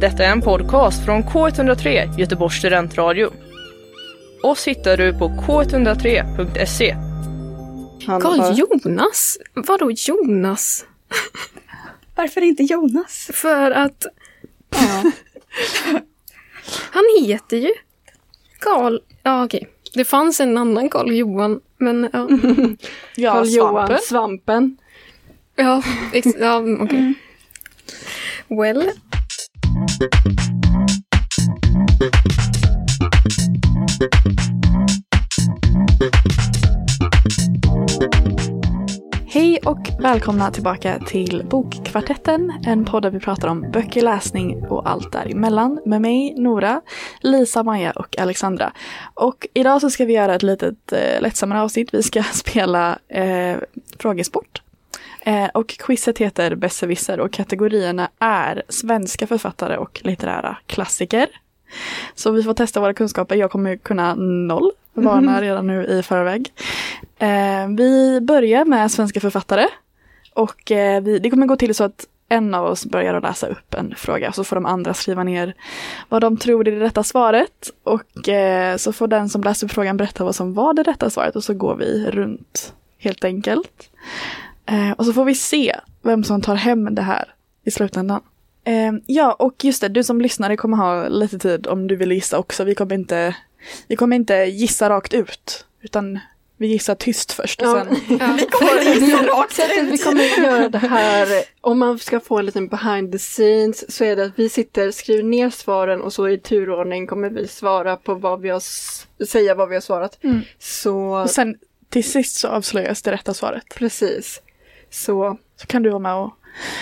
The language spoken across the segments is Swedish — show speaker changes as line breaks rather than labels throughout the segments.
Detta är en podcast från K103, Göteborgs studentradio. Oss hittar du på k103.se.
Han
Carl
har-
Jonas? Vadå Jonas?
Varför inte Jonas?
För att han heter ju Carl... Ja, okej. Det fanns en annan Carl Johan, men ja.
Ja,
Carl Johan,
svampen.
svampen.
Ja, ex- ja okej.
Mm.
Well.
Hej och välkomna tillbaka till Bokkvartetten, en podd där vi pratar om böcker, läsning och allt däremellan med mig, Nora, Lisa, Maja och Alexandra. Och idag så ska vi göra ett litet eh, lättsammare avsnitt. Vi ska spela eh, frågesport. Eh, och quizet heter Besserwisser och kategorierna är svenska författare och litterära klassiker. Så vi får testa våra kunskaper. Jag kommer ju kunna noll, varnar redan nu i förväg. Eh, vi börjar med svenska författare. Och eh, vi, det kommer gå till så att en av oss börjar att läsa upp en fråga så får de andra skriva ner vad de tror är det rätta svaret. Och eh, så får den som läser upp frågan berätta vad som var det rätta svaret och så går vi runt helt enkelt. Eh, och så får vi se vem som tar hem det här i slutändan. Eh, ja, och just det, du som lyssnare kommer ha lite tid om du vill gissa också. Vi kommer inte, vi kommer inte gissa rakt ut, utan vi gissar tyst först och
Ja.
sen
Ja.
Sättet vi kommer att göra det här, om man ska få en liten behind the scenes, så är det att vi sitter, skriver ner svaren och så i turordning kommer vi svara på vad vi har, s- säga vad vi har svarat.
Mm.
Så,
Och sen till sist så avslöjas det rätta svaret.
precis. Så,
Så kan du vara med och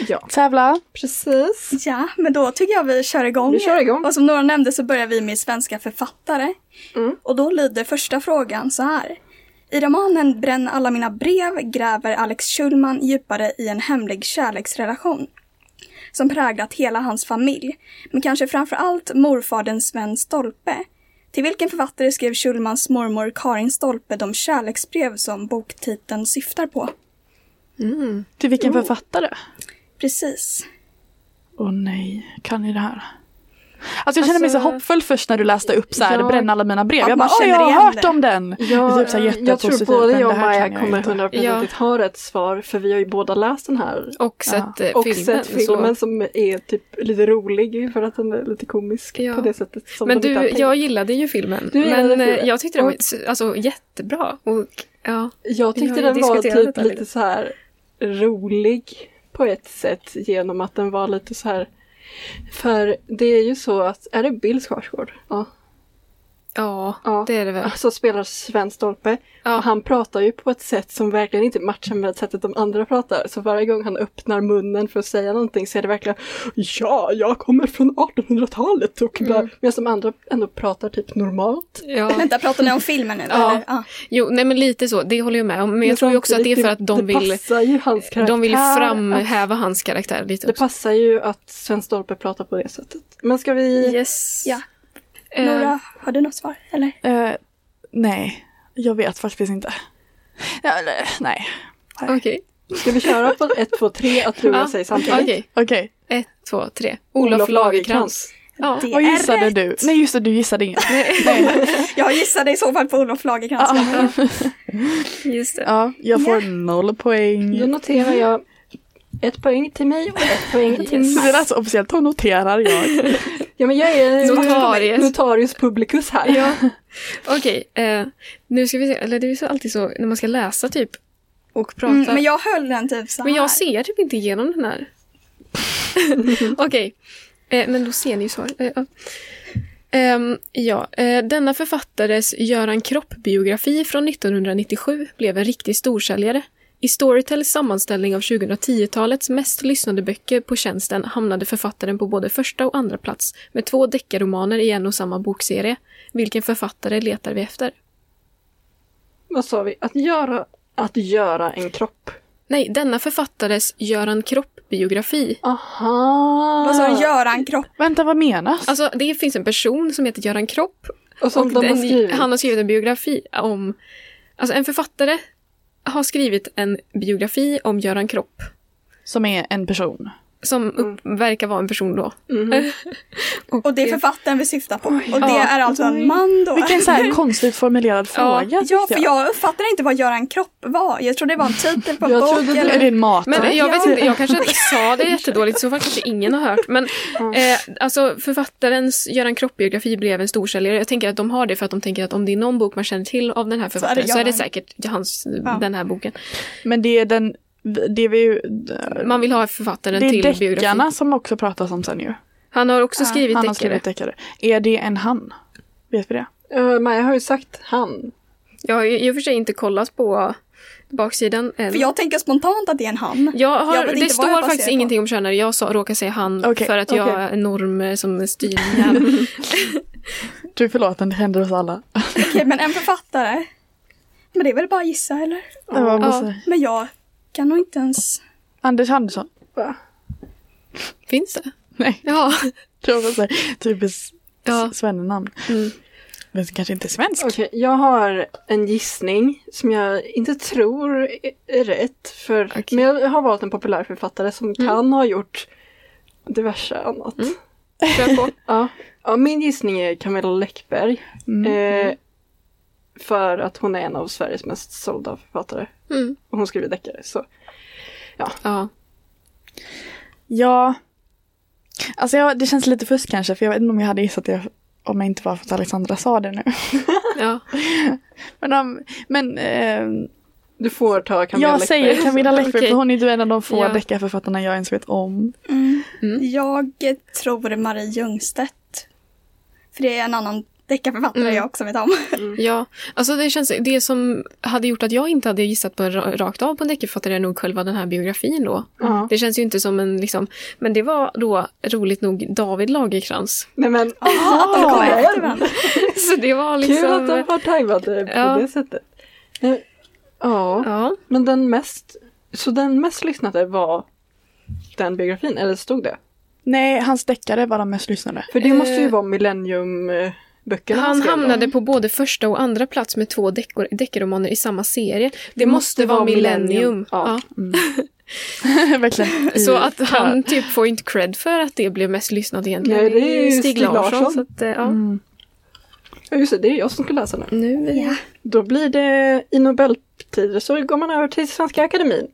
ja.
tävla.
Precis.
Ja, men då tycker jag vi kör igång.
Vi kör igång.
Och som några nämnde så börjar vi med svenska författare.
Mm.
Och då lyder första frågan så här. I romanen Bränn alla mina brev gräver Alex Schulman djupare i en hemlig kärleksrelation som präglat hela hans familj, men kanske framför allt morfadern Sven Stolpe. Till vilken författare skrev Schulmans mormor Karin Stolpe de kärleksbrev som boktiteln syftar på?
Till vilken författare?
Precis.
Åh nej, kan ni det här? Alltså jag kände mig så
Alltså,
hoppfull först när du läste upp så här,
jag-
bränn alla mina brev.
Att
Jag
man
bara, åh
känner
jag
igen
har hört
det."
om den! Det är typ så här
jag tror
jättepositivt,
både
men
jag och
det här kan
Maja
jag
kommer 100%
inte.
ha rätt svar för vi har ju båda läst den här.
Och sett eh,
Och
filmen.
sett filmen
Så.
som är typ lite rolig för att den är lite komisk
Ja.
på det sättet. Som
Men
de inte har
du,
tänkt.
jag gillade ju filmen.
Du gillade
men eh,
filmen.
jag tyckte den var
Och-
s- alltså, jättebra. Och, ja.
Jag
Vi
tyckte
har ju
den var
diskuterat
typ
detta
lite
lite.
så här rolig på ett sätt genom att den var lite så här för det är ju så att, är det Bill Skarsgård? Ja.
Ja,
Ja.
det är det väl.
Som Alltså, spelar Sven Stolpe.
Ja.
Och han pratar ju på ett sätt som verkligen inte matchar med sättet de andra pratar. Så varje gång han öppnar munnen för att säga någonting så är det verkligen Ja, jag kommer från 1800-talet och bla.
Mm.
Medan de andra ändå pratar typ normalt.
Ja.
Vänta, pratar ni om filmen nu?
Ja.
Eller? Ja.
Jo, nej men lite så. Det håller jag med om. Men, jag tror ju också att det är
samtidigt,
för att de
Det
vill,
passar ju hans karaktär.
de vill
att-
framhäva hans karaktär lite
Det
också.
passar ju att Sven Stolpe pratar på det sättet. Men ska vi...
Yes.
Ja.
Eh,
Nora, har du något svar? Eller?
Eh, nej, jag vet faktiskt inte. Ja, eller, nej,
Okej.
Ska vi köra på ett, två, tre att du och jag säger samtidigt?
Okej.
okej.
Ett, två, tre. Olof Lagercrantz. Ja.
Det
Vad
är
gissade
rätt.
du? Nej just det, du gissade inget.
Jag gissade i så fall på Olof Lagercrantz.
Just det.
Ja, jag får noll
Då
poäng.
noterar jag ett poäng till mig och ett poäng till
Yes.
Så det är alltså officiellt, då noterar jag.
Ja men jag är
Notarius.
notarius publicus här.
Ja. Okej, eh, nu ska vi se. Eller det är ju så alltid så när man ska läsa typ och prata.
Mm, men
men, jag
jag höll den typ så här.
ser typ inte igenom den här. Okej, eh, men då ser ni ju svaret. Eh, ja. Ehm, ja, eh, denna författares Göran Kropp-biografi från 1997 blev en riktig storsäljare. I Storytels sammanställning av 2010-talets mest lyssnade böcker på tjänsten hamnade författaren på både första och andra plats med två deckarromaner i en och samma bokserie. Vilken författare letar vi efter?
Vad sa vi? Att göra, att göra en kropp.
Nej, denna författares Göran Kropp-biografi.
Aha!
Vad sa du? Göran Kropp?
Vänta, vad menas?
Alltså, det finns en person som heter Göran Kropp
Och som
och
de har
den-
skrivit.
han har skrivit en biografi om... Alltså, en författare har skrivit en biografi om Göran Kropp.
Som är en person.
Som upp, verkar vara en person då.
Mhm.
Och,
Och det är författaren vi syftar på. Och det
Ja.
är alltså en man då.
Vilken så här konstigt formulerad fråga tyckte
Ja, för jag uppfattade inte vad Göran Kropp var. Jag trodde det var en titel på en
Jag
bok.
trodde det Är
eller...
det en mat?
Men
rätt?
jag vet inte, jag kanske sa det jättedåligt, så fall kanske ingen har hört. Men eh, alltså författarens Göran Kropp-biografi blev en storsäljare. Jag tänker att de har det för att de tänker att om det är någon bok man känner till av den här författaren så är det,
Göran.
säkert hans, den här boken.
Men det är den, det är vi ju,
Man vill ha författaren
det
till
är
biografin.
deckarna som också pratas om sen ju.
Han har också skrivit
Han har
deckare.
skrivit deckare. Är det en han? Vet vi det?
Eh, Maja har ju sagt han.
Jag har ju i och för sig inte kollat på baksidan än.
För jag tänker spontant att det är en han.
Jag har,
Jag vet inte
det
vad jag
står
baserar
faktiskt
på.
ingenting om könare. Jag sa, råkar säga han
Okej,
för att jag
okej.
är en norm eh, som styr det här.
Du förlåt, men det händer oss alla.
Okej, men en författare. Men det är väl bara att gissa eller?
Det var bara
Ja.
så här.
Men jag kan nog inte ens...
Anders Andersson.
Finns det?
Nej,
Ja.
det var bara så här, typiskt
ja.
s- svennenamn.
Mm.
Men det kanske inte är svensk.
Okej, jag har en gissning som jag inte tror är- är rätt. För,
Okej.
Men jag har valt en populär författare som kan ha gjort diverse annat.
Kör på.
Ja. ja, min gissning är Camilla Läckberg.
Mm.
Eh, för att hon är en av Sveriges mest sålda författare.
Mm.
Och hon skriver deckare. Så.
Ja.
Ja. Alltså jag, det känns lite fusk kanske för jag vet inte om jag hade gissat det om jag inte var för att Alexandra sa det nu.
ja.
Men, om, men eh,
Du får ta Camilla
jag
Läckberg.
säger Camilla Läckberg
Okej.
för hon är ju en av de få
Ja.
deckarförfattarna jag ens vet om.
Mm.
Mm.
Jag tror Marie Ljungstedt. För det är en annan deckarförfattare
Mm.
jag också vet om.
Ja, alltså det känns, det som hade gjort att jag inte hade gissat på en ra- rakt av på en deckarförfattare är nog själva den här biografin då.
Ja.
Det känns ju inte som en liksom, men det var då roligt nog David Lagercrantz.
Nej men
Jaha, att de kommer efter varandra.
Så det var
kul
liksom...
att de har tajmat det på
Ja.
det sättet. Eh, Ja,
Ja,
men den mest, så den mest lyssnade var den biografin, eller stod det?
Nej, hans deckare var de mest lyssnade.
För det måste ju
Eh,
vara Millennium-böckerna
han
skrev om.
hamnade på både första och andra plats med två deckor- deckarromaner i samma serie. Det måste, vara Millennium.
Ja.
Verkligen.
Ja. Så att han typ får inte cred för att det blev mest lyssnat egentligen.
Nej, det är ju Stig Larsson.
Så att, eh, ja.
Mm.
Ja, Just det, det är jag som ska läsa nu.
Nu,
Ja.
Då blir det i Nobeltider så går man över till Svenska Akademin.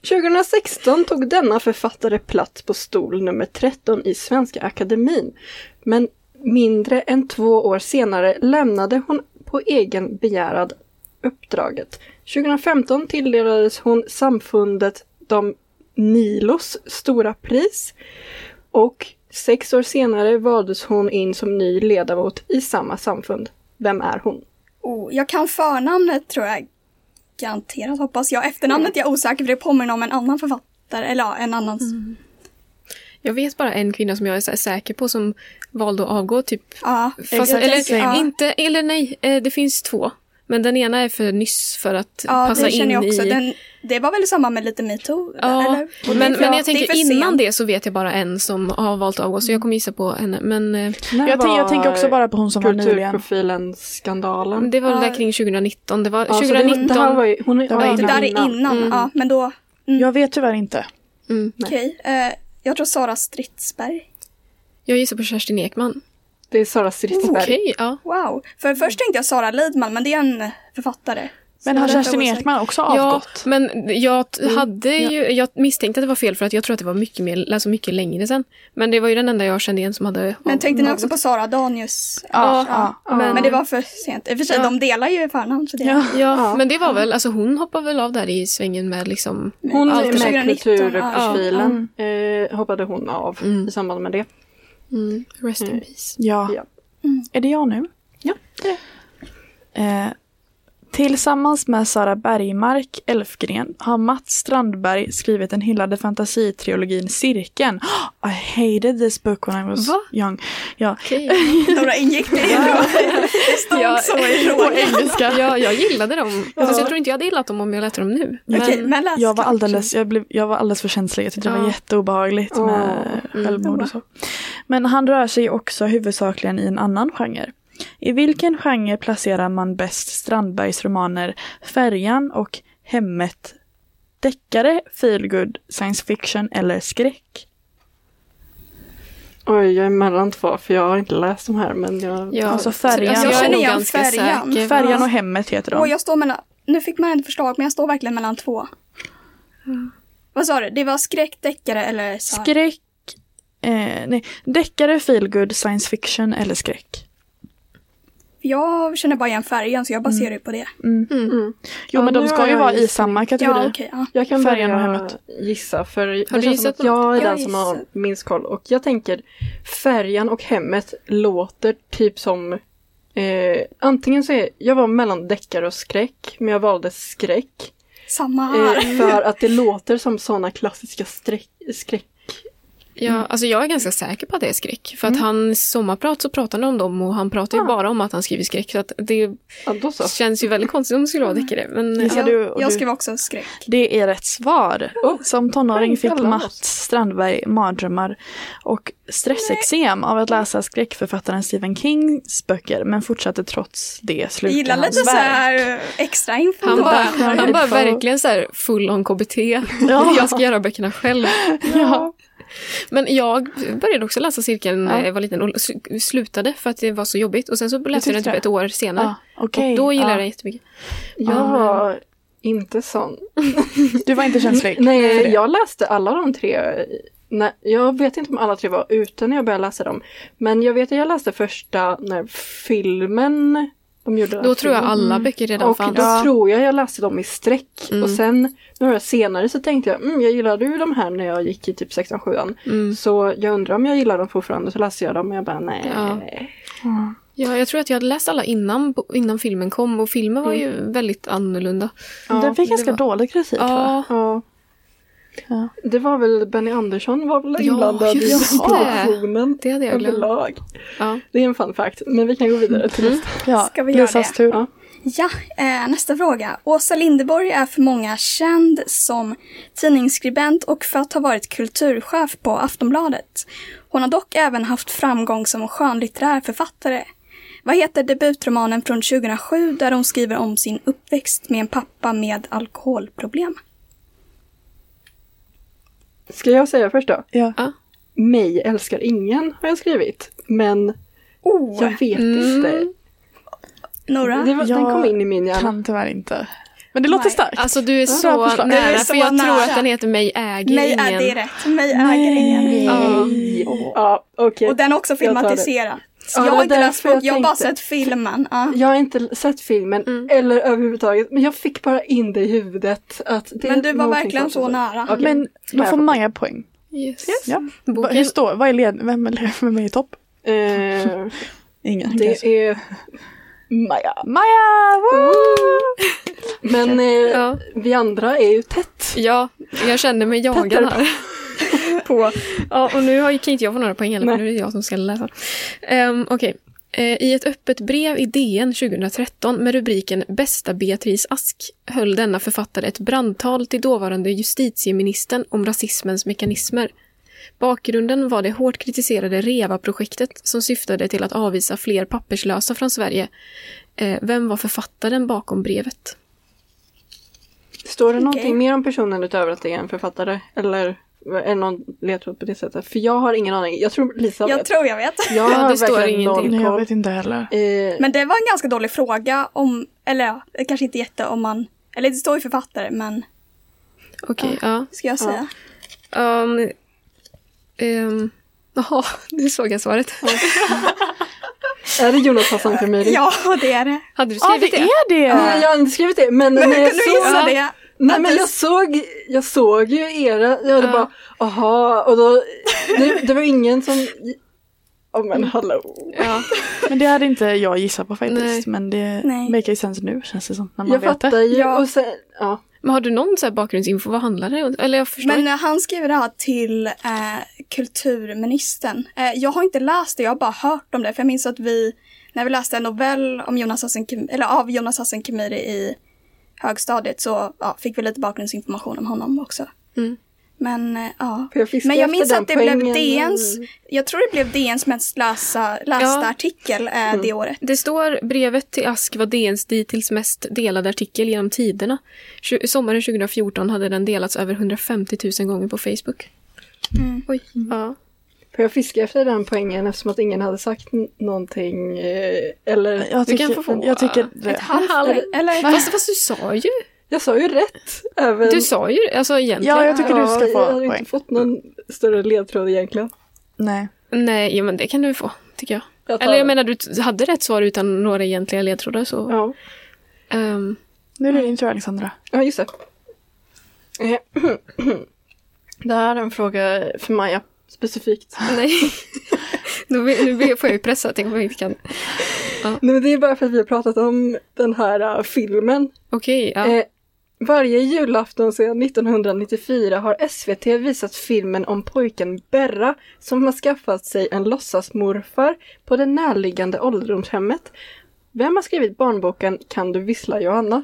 2016 tog denna författare plats på stol nummer 13 i Svenska Akademin. Men mindre än två år senare lämnade hon på egen begärad uppdraget. 2015 tilldelades hon samfundet de Nilos stora pris och sex år senare valdes hon in som ny ledamot i samma samfund. Vem är hon?
Oh, jag kan förnamnet tror jag. Garanterat hoppas jag. Efternamnet är jag osäker för det påminner om en annan författare. Eller ja, en annan.
Mm. Jag vet bara en kvinna som jag är så här säker på som valde att avgå typ.
Ja.
Fast,
Exakt
eller,
same.
inte, eller nej, eh, det finns två. Men den ena är för nyss för att
Ja,
passa
det
in
känner jag också.
i...
Den, det var väl i samband med lite metoo?
ja,
eller? Ja,
men, men
det är
jag tänker
för
innan
sent.
det så vet jag bara en som har valt att avgå, så jag kommer gissa på henne. Men eh,
När
Jag, tänk, jag
var
tänker också bara på hon som var nyligen.
Kulturprofilen-skandalen.
det var väl
Ja.
där kring 2019. Det var
Ja, så det var-
2019.
Det här var ju, hon
Det var
ja,
Det där är innan. Ja, men då,
Jag vet tyvärr inte.
mm.
okej. Eh, jag tror Sara Stridsberg.
Jag gissar på Kerstin Ekman.
Det är Sara Stridsberg.
Okej, ja.
Wow.
Mm.
För först tänkte jag Sara Lidman, men det är en författare.
Men
Så
har
jag är
Kerstin
osäker.
Ekman också
Ja,
avgått?
men jag t- hade ju, jag misstänkte att det var fel för att jag tror att det var mycket mer, alltså mycket längre sedan. Men det var ju den enda jag kände igen som hade
Men
av-
tänkte ni också på Sara Danius?
Ja, ja.
Men, det var för sent. I och för sig,
Ja.
de delar ju förnamn. Så det
Ja.
Ja, men det var väl, alltså hon hoppade väl av där i svängen med liksom,
Hon
Allt
är med
2019,
kulturprofilen eh, hoppade hon av i samband med det.
mm, rest in peace.
Ja.
Ja.
Är det jag nu?
Ja, det är
Eh, tillsammans med Sara Bergmark Elfgren har Mats Strandberg skrivit den hyllade fantasitriologin Cirkeln. I hated this book when I was
Va?
young. Ja,
Okej.
Några ingick det i Det stod
Ja.
så i frågan.
Ja, jag gillade dem. Fast jag tror inte jag hade gillat dem om jag lät dem nu. Men,
Okej, men läs
jag, var
klart.
alldeles, jag, blev, jag var alldeles för känslig. Jag tyckte det
Ja.
var jätteobehagligt med
Mm.
självmord och så. Men han rör sig också huvudsakligen i en annan genre. I vilken genre placerar man bäst Strandbergs romaner Färjan och Hemmet deckare, feelgood, science fiction eller skräck?
Oj, jag är mellan två för jag har inte läst de här men jag...
Ja,
Alltså färjan.
alltså, jag
Jag
är
känner
nog
igen
ganska
färjan.
säker.
Färjan och hemmet heter de.
Och jag står mellan, nu fick man inte förslag men jag står verkligen mellan två. Vad sa du? Det var skräckdeckare eller så här-
Skräck, eh, nej, deckare, feelgood, science fiction eller skräck?
Jag känner bara igen färgen så jag baserar ju på det.
Jo
Mm.
Ja,
men de
nu har
ska ju
jag
vara
ju
i
gissning.
samma kategori.
Ja, okej. ja.
Jag kan
Färjan och
börja
hemmet.
gissa för
du
det känns som
gissat
att jag är
något?
den
Jag
som har
gissar.
minst koll. Och jag tänker färjan och hemmet låter typ som eh, antingen så är, jag var mellan deckare och skräck men jag valde skräck.
Samma här.
Ah.
Eh, för att det låter som sådana klassiska sträck, skräck.
Ja,
Mm.
alltså jag är ganska säker på att det är skräck. För att han i sommarprat så pratade han om dem och han pratar ju bara om att han skriver skräck. Så att det
Ja, då så.
känns ju väldigt konstigt om det skulle vara deckare. Men eh,
Gissa
ja,
jag,
du och
jag
du.
skrev också skräck.
Det är rätt svar. Som tonåring
Nej,
fick
jävlar.
Mats Strandberg mardrömmar och stressexem av att läsa skräckförfattaren Stephen Kings böcker men fortsatte trots det
Jag
sluta
gillar lite
hans
så
verk.
här extra info.
han bara, han bara
info.
verkligen så här full on KBT.
Ja.
Jag ska göra böckerna själv.
Ja.
Men jag började också läsa cirkeln
Ja.
när jag var liten och sl- slutade för att det var så jobbigt. Och sen så läste jag den
tyckte
typ
det?
ett år senare.
Ja, okej.
Och då gillade jag den
ja.
jättemycket.
Jag
Ah.
var inte sån.
Du var inte känslig? för det.
Nej, jag läste alla de tre. Nej, jag vet inte om alla tre var ute när jag började läsa dem. Men jag vet att jag läste första när filmen de gjorde. den
Då
här
tror jag
filmen.
Mm.
alla böcker redan
Och
fanns. Mm.
då
Ja.
tror jag jag läste dem i streck. Och sen några år senare så tänkte jag, mm, jag gillade ju de här när jag gick i typ 16-7an.
Mm.
Så jag undrar om jag gillar dem fortfarande. Så läste jag dem och jag bara nej.
Ja. Ja, jag tror att jag hade läst alla innan, innan filmen kom och filmen var ju väldigt annorlunda.
den fick
det
ganska
var-
dålig kritik va?
Ja,
Ja.
Ja.
Det var väl Benny Andersson var väl
Ja,
inblandad i
just det.
produktionen
det hade jag glömt.
överlag.
Ja.
Det är en fun fact, men vi kan gå vidare till nästa.
Ja,
Ska vi göra
Lisas
det?
tur.
Ja.
Ja, eh, nästa fråga. Åsa Linderborg är för många känd som tidningsskribent och för att ha varit kulturchef på Aftonbladet. Hon har dock även haft framgång som skönlitterär författare. Vad heter debutromanen från 2007 där hon skriver om sin uppväxt med en pappa med alkoholproblem?
Ska jag säga först då?
Ja.
Ja.
Mig älskar ingen har jag skrivit. Men
Oh,
jag vet inte.
Nora?
Det var, Den
Jag
kom in i min hjärna.
Kan tyvärr inte. Men det låter
Nej.
starkt.
Alltså du är så
förslag.
nära,
Du är så
för jag tror
nära.
att den heter Mig äger
Mig
ingen.
är det rätt. Mig äger ingen.
Ja, okej.
Och den är också
Jag tar det.
filmatiserad. Så jag
Ja, det var
har inte läst
därför jag
boken, jag har bara
tänkte.
sett filmen. Ja.
Jag har inte sett filmen eller överhuvudtaget. Men jag fick bara in det i huvudet. Att det
Men
är
du var
någonting
verkligen
som-
så nära.
Okej.
Men då
Nej,
får
jag
Maja poäng.
Yes.
Ja. Va-
Boken-
Hur står, vad är led, vem, är led- vem är i topp?
Eh,
Ingen.
det
kanske.
är Maja.
Maja! Woo!
Men eh,
Ja.
vi andra är ju tätt.
Ja, jag känner mig jagad
Petter.
här. på. Ja, och nu har ju- kan inte jag få några poäng heller, för
Nej.
nu är det jag som ska läsa. Um, Okej. Eh, I ett öppet brev i DN 2013 med rubriken “Bästa Beatrice Ask” höll denna författare ett brandtal till dåvarande justitieministern om rasismens mekanismer. Bakgrunden var det hårt kritiserade REVA-projektet som syftade till att avvisa fler papperslösa från Sverige. Eh, vem var författaren bakom brevet?
Står det någonting
Okej.
mer om personen utöver att det är en författare? Eller är det någon ledtråd på det sättet? För jag har ingen aning. Jag tror Lisa
Jag
vet.
tror jag vet.
Jag
Ja,
har
det står
verkligen
ingenting.
noll
Nej, jag
koll.
vet inte heller.
Eh,
Men det var en ganska dålig fråga om, eller ja, det kanske inte jätte om man, eller det står ju författare men,
Okej, ja.
ska jag säga.
Um, um, Jaha, nu såg jag svaret.
Eh, är det Jonas Hassan Khemiri?
Ja, det är det.
Hade du
Ja, ah,
skrivit
det
det?
är det!
Nej, jag har inte skrivit det. Men,
Men
när
hur
jag
kunde du gissa
såg,
det?
Nej,
Att
men
du-
jag såg, jag såg ju era, jag hade
Ja.
bara, aha, och då, det, det var ingen som, ja men hallå.
Ja.
Men det hade inte jag gissat på faktiskt.
Nej.
Men det
Nej.
make sense nu känns det som. När man
Jag
vet
fattar
det.
ju,
Ja.
och sen, ja.
Men har du någon så här bakgrundsinfo? Vad handlar det om? Eller jag förstår
Men
inte.
eh, han skriver det här till eh, kulturministern. Eh, jag har inte läst det, jag har bara hört om det. För jag minns att vi, när vi läste en novell om Jonas Hassan Khemiri, eller av Jonas Hassan Khemiri i högstadiet så ja, fick vi lite bakgrundsinformation om honom också. Men eh, ja.
För Mm. jag fiskar
Men jag
efter
minns
den
att det blev
poängen.
DNs, jag tror det blev DNs mest läsa, lästa
Ja.
artikel eh, det
Mm.
året.
Det står brevet till Ask var DNs dittills mest delade artikel genom tiderna. Tju- Sommaren 2014 hade den delats över 150 000 gånger på Facebook. Oj. Ja.
För jag fiskar efter den poängen eftersom att ingen hade sagt n- någonting. eh, Eller
Jag
Du
tycker,
kan få få,
jag tycker
äh,
det.
ett halvt poäng.
Eller?
Fast, fast du sa ju.
jag sa ju rätt. Även,
Du sa ju alltså egentligen.
Ja, jag tycker du ska
Jag
få
hade
poäng.
inte fått någon större ledtråd egentligen.
Nej.
Nej, ja, men det kan du få, tycker jag.
Jag tar
Eller jag
den.
menar, du t- hade rätt svar utan några egentliga ledtrådar. Så.
Ja,
Ehm,
Nu är det din tur Alexandra.
ja just det. Eh, Det här är en fråga för Maja specifikt.
nej. Då blir- nu blir- får jag ju pressa. Tänk om jag inte kan.
Nej, men det är bara för att vi har pratat om den här eh, filmen
Okej, ja.
Eh, varje julafton sedan 1994 har SVT visat filmen om pojken Berra som har skaffat sig en låtsasmorfar på det närliggande ålderdomshemmet. Vem har skrivit barnboken Kan du vissla Johanna?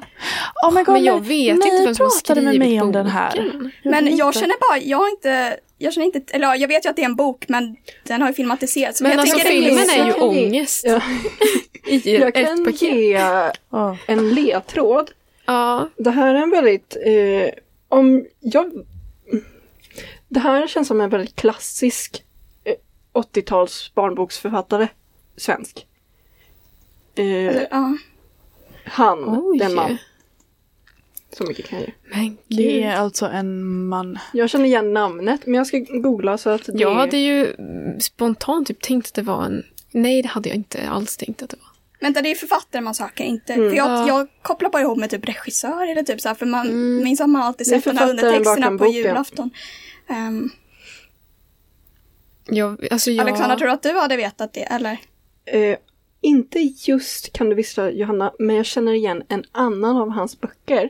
Oh my God,
Ah, Men jag
nej.
vet
nej,
inte vem som har
pratade med
skrivit
mig om den
boken.
här.
Men
vet
jag
inte.
känner bara, jag har inte, jag känner inte, eller ja, jag vet ju att det är en bok men den har ju filmatiserats.
Men
jag
alltså
tänker det
filmen
finns-
är ju
jag kan ge-
ångest.
Ja.
I
Jag
Eh, ett
kan
paket.
ge
Ja.
en ledtråd.
Ja.
Det här är en väldigt, eh, om jag... Det här känns som en väldigt klassisk eh, 80-tals barnboksförfattare, svensk.
Alltså,
Eh,
Eller, ja.
Han,
Oj.
den man. Så mycket kan jag ju.
Men
Det
gud.
är alltså en man.
Jag känner igen namnet men jag ska googla så att det...
Jag hade ju mm, spontant typ tänkt att det var en... Nej, det hade jag inte alls tänkt att det var.
Vänta, det är författare man söker, inte... För jag,
Ja.
jag kopplar bara ihop med typ regissör eller typ så här, för man minns att man alltid
Det är
sett de här
författaren
undertexterna
bakom
på
boken.
julafton. Ehm,
Jag, alltså jag...
Alexandra, tror du att du hade vetat det, eller?
Eh, inte just Kan du vissla Johanna, men jag känner igen en annan av hans böcker.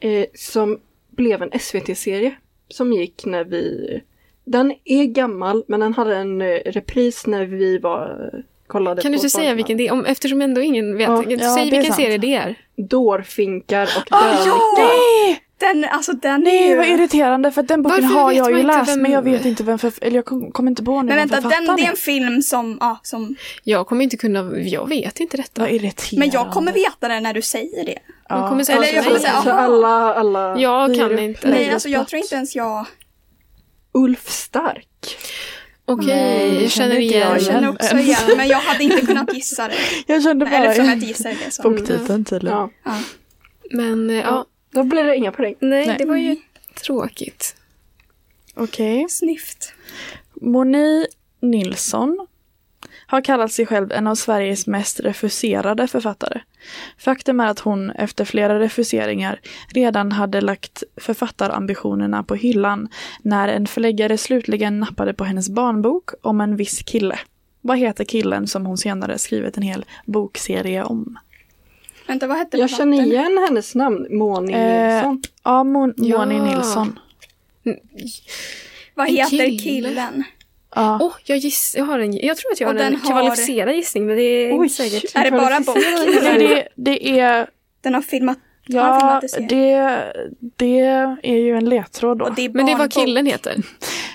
Eh, som blev en SVT-serie. Som gick när vi... Den är gammal men den hade en eh, repris när vi var... eh, Kollade
Kan du
på
inte säga
Barnarna.
vilken det är? Om, eftersom ändå ingen vet.
Ja,
ja, det
Säg
är
vilken
sant.
serie det är.
Dårfinkar och
Ah, ja!
dövhjältar.
Nej!
Den, alltså den är
Nej
ju...
vad irriterande för den boken
Varför
har
vet
jag
man
ju
inte
läst
vem-
men jag vet inte vem förf- eller jag kom- kommer inte på
Men
nu vem
vänta, den,
författaren
det är en film som, ja, som...
Jag kommer inte kunna... Jag vet inte detta.
Vad irriterande.
Men jag kommer veta det när du säger det.
Man kommer säga
Eller
så
jag
nej.
kommer säga,
Så
aha.
alla, alla...
Jag kan
Fyra-
inte.
Nej,
fyra
alltså jag
plats.
tror inte ens jag...
Ulf Stark.
Okej,
Nej,
jag känner
kände inte jag
igen.
Jag känner
igen.
också igen, men jag hade inte kunnat gissa det.
Jag kände bara
Eller som att gissa det så.
boktiteln tydligen.
Ja.
Men eh, ja,
Då blir det inga poäng.
nej,
Nej.
det var ju tråkigt.
Okej.
Snyft.
Moni Nilsson har kallat sig själv en av Sveriges mest refuserade författare. Faktum är att hon efter flera refuseringar redan hade lagt författarambitionerna på hyllan när en förläggare slutligen nappade på hennes barnbok om en viss kille. Vad heter killen som hon senare skrivit en hel bokserie om?
Vänta, vad hette
Jag känner
författaren?
igen hennes namn, Moni
Eh,
Nilsson.
Ja, Mon- Moni
Ja.
Nilsson.
Vad
En
heter
kille.
killen?
Ja.
Åh, jag, giss, jag, har en, jag tror att jag
Och
har en
den har-
kvalificerad gissning, men det är inte säkert.
Är det bara
Nej, det, det är...
Den har filmat... har han
Ja,
filmat det?
det, det är ju en ledtråd då.
Och det är
Men det är vad
barnbok.
killen heter.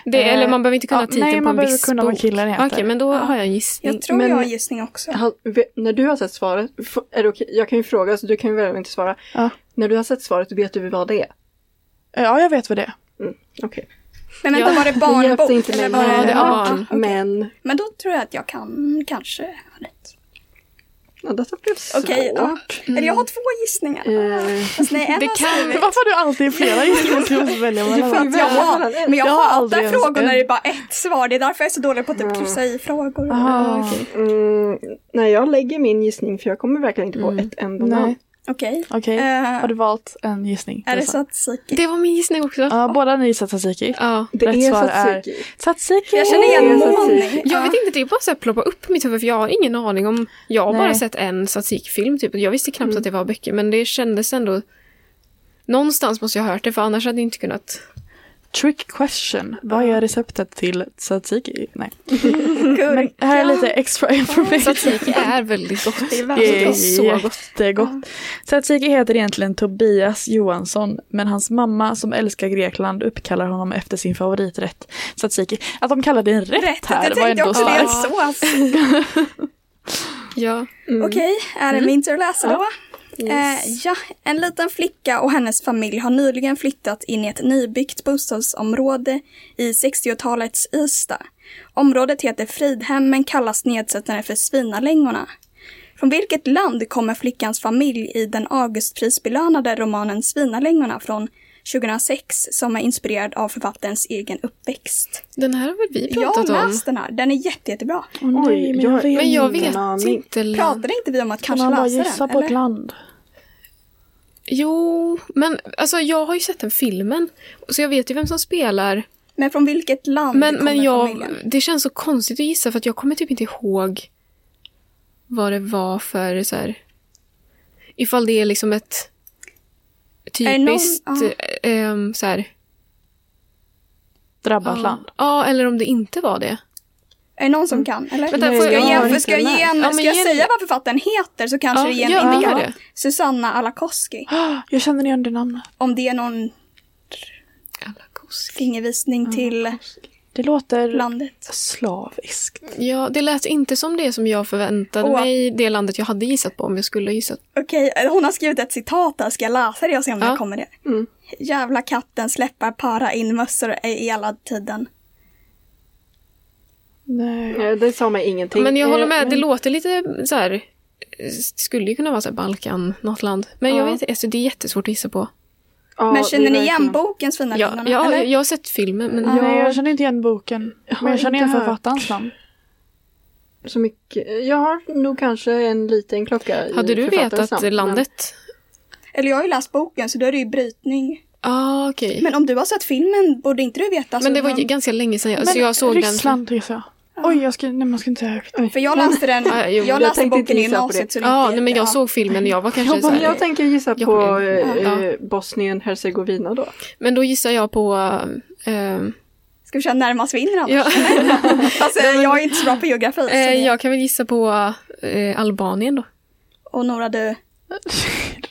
Det,
Eh,
eller man behöver inte kunna
ja,
titeln
nej,
på
man
en
behöver
viss
kunna vad
bok.
killen heter.
Okej, men då har jag en gissning.
Jag tror
Men-
jag har en gissning också.
Han, ve- när du har sett svaret, f- är det okej? jag kan ju fråga så du kan ju välja att inte svara.
Ja.
När du har sett svaret, vet du vad det är?
Ja, jag vet vad det är.
Okej.
Men vänta,
Ja.
var det
Det hjälpte
barnbok?
inte
eller
mig.
var
Ja, det
det...
är barn.
Men,
Men då tror jag att jag kan kanske ha rätt.
ja, detta blev svårt.
Okej, ja. Eller jag har två gissningar.
Eh,
Fast nej, en
Det
har
kan-
skrivit.
Varför har du alltid flera gissningar som du välja mellan?
För att jag har, men jag,
Jag har aldrig
hatar
ens
frågor
en.
när det är bara ett svar. Det är därför jag är så dålig på att typ kryssa i frågor.
Ah,
Ja, okej.
mm, nej, jag lägger min gissning för jag kommer verkligen inte på ett enda namn.
Nej,
Okej.
okej.
Eh,
Har du valt en gissning?
är det
Lisa?
så att psykiskt?
Det var min gissning också. Ja.
Ja, båda ni gissar tzatziki.
Det
Rätt
är
svar
tzatziki.
Tzatziki!
Jag känner
Det
igen
är så att
Moni.
psyk-
Jag vet inte, det är bara så här ploppa upp i mitt huvud för jag har ingen aning om... Jag har
Nej.
bara sett en statistikfilm typ. Jag visste
Mm.
knappt att det var böcker men det kändes ändå... Någonstans måste jag ha hört det för annars hade jag inte kunnat...
Trick question. Vad är receptet till tzatziki? Nej. Men
Gurka.
här är lite extra information.
Tzatziki är väldigt gott.
Alltså, Det är
Alltså,
väldigt
Det är
gott.
så jättegott. Tzatziki heter egentligen Tobias Johansson men hans mamma som älskar Grekland uppkallar honom efter sin favoriträtt tzatziki. Att de kallar det en rätt,
Rätt,
här
jag
var
tänkte
ändå Mm.
också det.
starkt.
En sås.
Ja.
Okej, är
Mm.
det min tur att läsa då?
Yes.
Eh, ja, en liten flicka och hennes familj har nyligen flyttat in i ett nybyggt bostadsområde i 60-talets Ystad. Området heter Fridhem men kallas nedsättande för Svinalängorna. Från vilket land kommer flickans familj i den Augustprisbelönade romanen Svinalängorna från 2006 som är inspirerad av författarens egen uppväxt?
Den här har väl vi
Jag
pratat
har
om?
läst den här, den är jätte, jättebra.
Åh, nej, men jag vet.
Men jag
Ingen
vet
aning.
inte. land.
Pratade inte vi om att
Kan
kanske
man bara
läsa den?
gissa på ett
eller?
land?
Jo, men alltså jag har ju sett den filmen. Så jag vet ju vem som spelar.
Men från vilket land
Men,
kommer
men jag,
familjen?
det känns så konstigt att gissa för att jag kommer typ inte ihåg vad det var för så här. Ifall det är liksom ett
det någon-
typiskt
ja.
ehm, så här.
Drabbat land.
Ja, eller om det inte var det.
Är det någon som kan? Eller?
Vänta,
Nej,
får
ska
jag-
jag, ge,
jag har
för
inte
ska jag, ge en,
läst. Ja,
ska
men
jag
ge-
säga vad författaren heter så kanske
Ja,
det ger en
gör-
indikan.
gör det.
Susanna Alakoski.
Jag känner igen det namnet.
Om det är någon
Alakoski.
fingervisning till
Det låter
landet.
slaviskt.
Ja, det lät inte som det som jag förväntade
Åh.
mig, det landet jag hade gissat på om jag skulle ha gissat.
Okej, eh, hon har skrivit ett citat här. Ska jag läsa det och se om
Ja.
det kommer det?
Mm.
Jävla katten släpar para in mössor i hela tiden.
Nej.
Eh, Det sa mig ingenting.
Men jag håller
Eh,
med, det låter lite så här. eh, skulle ju kunna vara så här Balkan, något land. Men jag
Ja.
vet inte, alltså, det är jättesvårt att gissa på.
ja,
men
det
känner ni
var
igen
verkligen-
bokens fina
Ja,
linjer,
ja,
eller?
jag har sett filmen, men
Ja.
Nej, jag känner inte igen boken. Men jag känner igen
inte hört.
författarens namn.
Så mycket. Jag har nog kanske en liten klocka i
hade du
författarens
vetat
namn, men-
landet?
Eller jag har ju läst boken så då är det ju brytning.
Ja, ah, okej. Men,
Men alltså, om du har sett filmen borde inte du veta? så
det var
man-
ju ganska länge sedan jag,
Alltså,
så jag såg
Ryssland gissar jag. Oj, jag ska, nej, man ska inte säga högt.
För jag läste den,
Ja, jo,
jag
jag
läste
tänkte inte
boken i
gissa på det.
gymnasiet så
den.
det är
Ja,
inte-
nej, men jag
ja.
såg filmen, jag var kanske
Jag,
så
bara,
här,
jag tänker gissa
Jag
på
kommer ihåg.
eh,
Ja.
bosnien herzegovina då.
Men då gissar jag på... ehm,
Ska vi köra närmast vinner annars?
ja,
Alltså, jag är inte så bra på geografi. så
eh,
det-
jag kan väl gissa på eh, Albanien då.
Och Nora, du.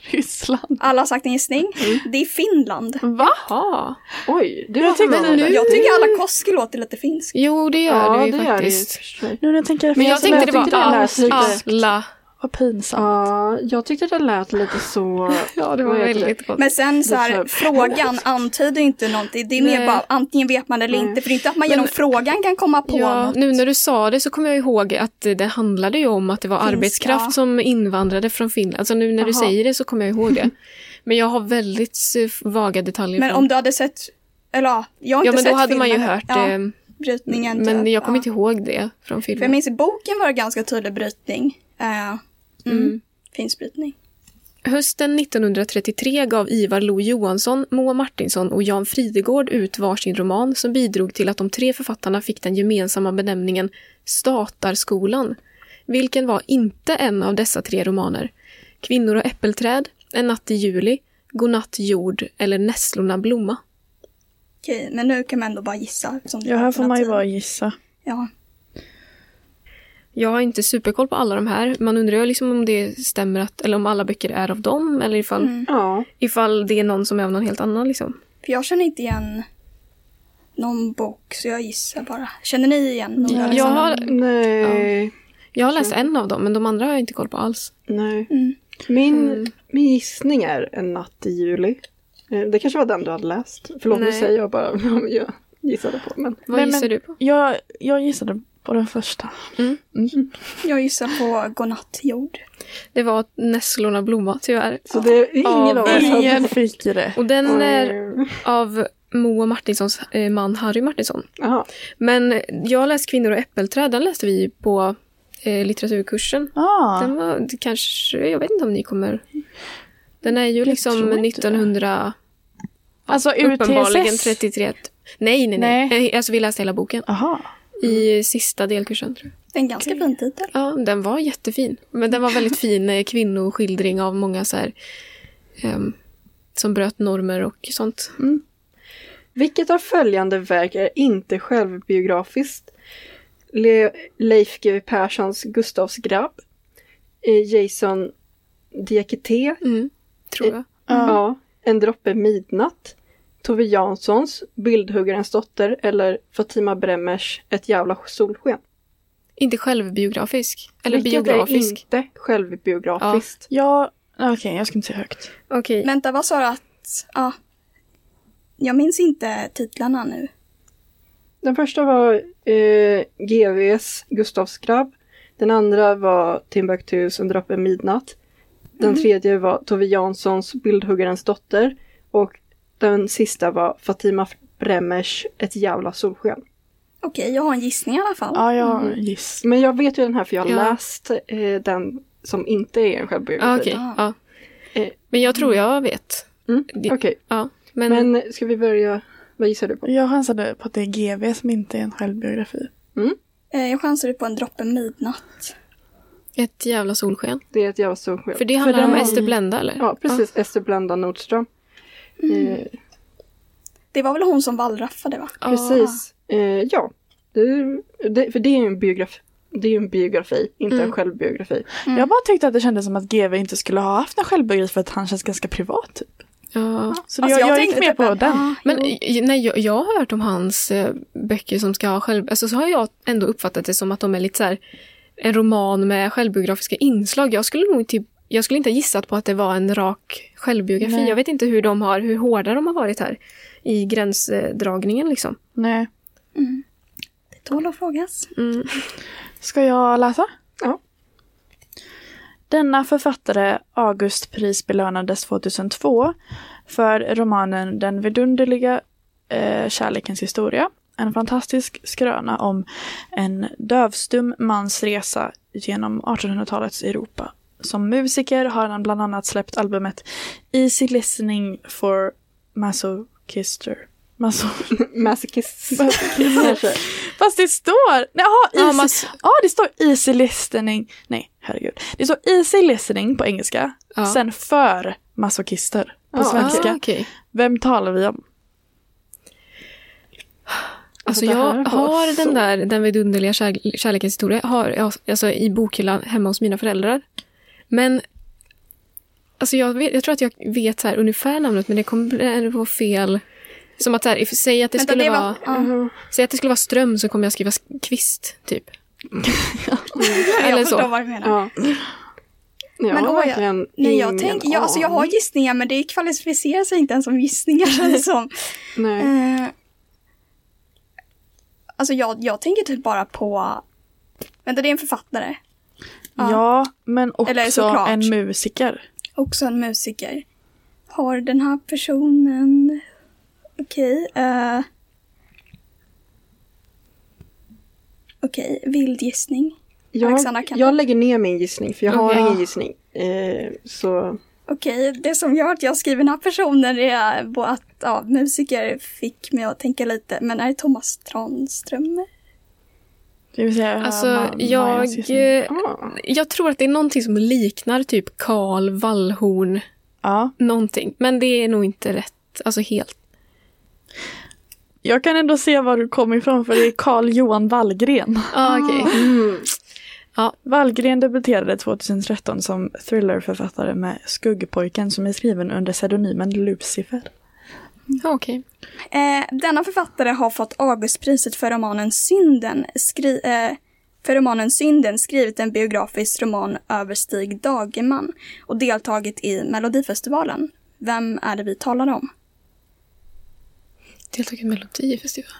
Ryssland.
Alla har sagt en gissning.
Mm.
Det är Finland.
Va?
Ja.
Oj, det
Jag
var
tyckte
men
nu-
Jag tycker alla Koski låter lite finsk.
Jo, det gör
Ja,
det ju
det gör det ju.
faktiskt.
Nu när jag tänker efter,
Men jag
så
tänkte det var
tyckte lät lite-
alla.
Vad pinsamt.
Ja, jag tyckte det lät lite så...
Ja, det var
Vad heter
väldigt gott.
Men sen så
Det är
här,
så-
frågan antyder ju inte någonting. Det är mer
Nej.
bara antingen vet man eller inte. För det är inte att man genom frågan kan komma på
Ja,
något.
nu när du sa det så kommer jag ihåg att eh, det handlade ju om att det var
Finska.
arbetskraft som invandrade från Finland. Alltså nu när du säger det så kommer jag ihåg det. Men jag har väldigt eh, vaga detaljer.
Men
från-
om du hade sett, eller ja, jag har
ja,
inte
men
sett
då hade man ju
filmen.
hört
Ja,
det.
brytningen.
Men
typ.
jag kommer
Ja.
inte ihåg det från
För jag
filmen.
minns i boken var det ganska tydlig brytning. Eh, mm. Finsk brytning.
Hösten 1933 gav Ivar Lo Johansson, Moa Martinsson och Jan Fridegård ut varsin roman som bidrog till att de tre författarna fick den gemensamma benämningen Statarskolan, vilken var inte en av dessa tre romaner. Kvinnor och äppelträd, En natt i juli, Godnatt jord eller Nässlorna blomma.
Okej, men nu kan man ändå bara gissa. Som
Ja, här får man ju
alternativ.
bara gissa.
Ja.
Jag har inte superkoll på alla de här. Man undrar ju liksom om det stämmer att, eller om alla böcker är av dem eller ifall,
Ja,
ifall det är någon som är av någon helt annan liksom.
För jag känner inte igen någon bok, så jag gissar bara. Känner ni igen några?
Jag
Alexandra?
har,
nej.
Jag har läst en av dem, men de andra har jag inte koll på alls.
nej.
Mm.
Min, min gissning är En natt i juli. Eh, Det kanske var den du hade läst. Förlåt, nu
Nej.
säger jag bara vad jag gissade på. Men
Vad
Nej, men-
gissar du på?
Jag, jag gissade på den första.
Jag gissar på Godnatt jord.
Det var Nässlorna blomma, tyvärr.
Så det är ingen
Av
av oss hade...
Ingen fick rätt.
Och den är
Mm.
av Moa Martinssons eh, man Harry Martinsson.
Jaha.
Men jag läste Kvinnor och äppelträd, den läste vi på eh, litteraturkursen.
Ah,
Den var det kanske, jag vet inte om ni kommer... Den är ju liksom
tror inte det.
1900...
alltså
Uppenbarligen
UTSS.
33... Nej, nej, nej.
Nej.
Eh, Alltså vi läste hela boken.
Aha.
I sista delkursen, tror jag.
Det är en ganska fin titel.
Ja, den var jättefin. Men den var väldigt fin eh, kvinnoskildring av många så här, ehm, som bröt normer och sånt.
Mm.
Vilket av följande verk är inte självbiografiskt? Le- Leif GW Perssons Gustavs grabb. eh, Jason Diakité.
Mm, tror jag.
Ja. En droppe midnatt. Tove Janssons Bildhuggarens dotter eller Fatima Bremmers Ett jävla solsken.
Inte självbiografisk. Eller
Vilket
biografisk.
är inte självbiografiskt.
Ja, okej jag ska inte säga högt.
Okej.
Vänta, vad sa du att... Ja. Jag minns inte titlarna nu.
Den första var eh, GVs Gustavs grabb. Den andra var Timbuktus En droppe midnatt. Den
Mm.
tredje var Tove Janssons Bildhuggarens dotter. Och den sista var Fatima Bremmers Ett jävla solsken.
Okej, jag har en gissning i alla fall.
Ja, jag
Mm.
giss.
Men jag vet ju den här för jag har
Ja.
läst eh, den som inte är en självbiografi.
Ja, Okej.
Ah.
Ja.
Eh,
Men jag tror jag vet.
Mm,
Det-
okej.
Ja. Men,
Men ska vi börja, vad gissar du på?
Jag chansade på att det är GV som inte är en självbiografi.
Eh, Jag chansade på en droppe midnatt.
ett jävla solsken.
Det är ett jävla solsken.
För det handlar om
den-
Ester Blenda eller?
Ja, precis. Ester Blenda Nordström.
Mm.
Eh,
Det var väl hon som wallraffade va?
Ja.
Precis. Eh, ja. Det, det, för det är ju en biografi. Det är ju en biografi, inte
Mm.
en självbiografi.
Mm.
Jag bara tyckte att det kändes som att GV inte skulle ha haft en självbiografi för att han känns ganska privat typ.
Ja.
Alltså,
Så jag,
jag
jag gick
tänkte
med
typ
på
en-
den.
Men j- nej, jag, jag har hört om hans eh, böcker som ska ha själv... Alltså så har jag ändå uppfattat det som att de är lite så här en roman med självbiografiska inslag. Jag skulle nog typ, jag skulle inte ha gissat på att det var en rak självbiografi.
Nej.
Jag vet inte hur de har, hur hårda de har varit här i gränsdragningen liksom.
Nej.
Det tål att frågas.
Mm.
Ska jag läsa?
Ja.
Denna författare Augustpris belönades 2002 för romanen Den vidunderliga eh, kärlekens historia. En fantastisk skröna om en dövstum mans resa genom 1800-talets Europa. Som musiker har han bland annat släppt albumet Easy Listening for Masochister. Maso
Masochist.
Fast det står... Jaha,
Ja,
easy,
mas-
Ja, det står easy listening. Nej, herregud. Det står easy listening på engelska.
Ja.
Sen för masochister på
Ja,
svenska.
Ah, okej.
Vem talar vi om?
Alltså
det
jag
här var
har
så-
den där Den vidunderliga kär, kärlekens historia har jag alltså, i bokhyllan hemma hos mina föräldrar. Men alltså jag, vet, jag tror att jag vet så här, ungefär namnet men det kommer ändå vara fel. Som att så här, if- säg att det
Vänta,
skulle
det var-
vara Mm.
ja.
säg att det skulle vara Ström så kommer jag skriva sk- Kvist typ. Eller
jag förstår
så.
vad du menar.
ja. Jag
Men
men, har
åh, jag-
verkligen
Nej, jag,
ingen
tänk, jag, alltså, jag har
aning.
gissningar men det kvalificerar sig inte ens som gissningar känns det som.
Nej.
Eh, alltså jag, jag tänker typ bara på... Vänta, det är en författare.
Ja, men också
Eller såklart.
en musiker.
Också en musiker. Har den här personen... Okej. eh, Okej, vild gissning. Alexandra
Jag,
kan-
jag lägger ner min gissning, för jag har
Okej.
ingen gissning. Eh, så
Okej, det som gör att jag skriver den här personen är bo- att ja, musiker fick mig att tänka lite. Men är det Thomas Tranströmer?
Det vill säga
Alltså
Ma- Majas
jag,
gissning.
eh,
ah,
jag tror att det är någonting som liknar typ Karl Wallhorn
Ja.
någonting. Men det är nog inte rätt. Alltså helt.
Jag kan ändå se var du kommer ifrån för det är Carl Johan Wallgren.
Ah, okej.
Wallgren debuterade 2013 som thrillerförfattare med Skuggpojken som är skriven under pseudonymen Lucifer.
Ja, okej.
Eh, denna författare har fått Augustpriset för romanen Synden, skri- eh, för romanen Synden skrivit en biografisk roman över Stig Dagerman och deltagit i Melodifestivalen. Vem är det vi talar om?
Deltagit i Melodifestivalen.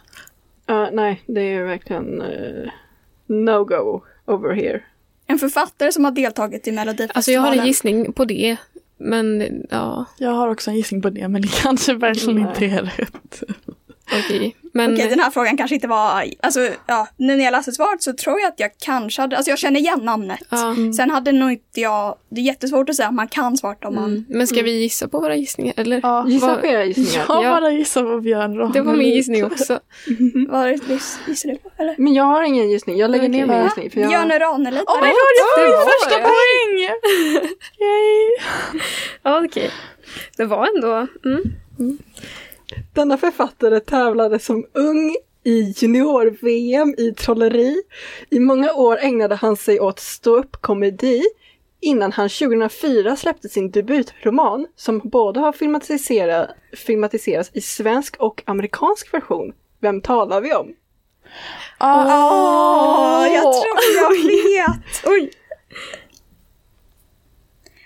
ja, nej, det är verkligen eh, no go over here.
En författare som har deltagit i Melodifestivalen.
Alltså jag har en gissning på det. Men ja,
Jag har också en gissning på det men det kanske verkligen
Nej.
inte är rätt.
okej. Men
Okej, den här frågan kanske inte var... Alltså, ja, nu när jag läste svaret så tror jag att jag kanske hade... Alltså jag känner igen namnet.
Ja. Mm.
Sen hade nog inte jag... Det är jättesvårt att säga att man kan svart om man...
men ska vi gissa på våra gissningar? Eller?
Ja,
Gissa
Vad-
på era gissningar.
Jag
Ja.
bara gissar på Björn Ranelid.
Det var min gissning också. Mm.
Vad gissar du på? Eller?
Men jag har ingen gissning. Jag lägger ner
Okej.
min
Va?
gissning. För jag...
Björn Ranelid.
Oh my god, jag
Det
får
var
min första
det.
poäng! Yay!
Ja, okej. Det var ändå... Mm.
Denna författare tävlade som ung i junior-VM i trolleri. I många år ägnade han sig åt ståuppkomedi innan han 2004 släppte sin debutroman som både har filmatisera- filmatiserats i svensk och amerikansk version. Vem talar vi om?
Åh, jag tror jag vet! Oj!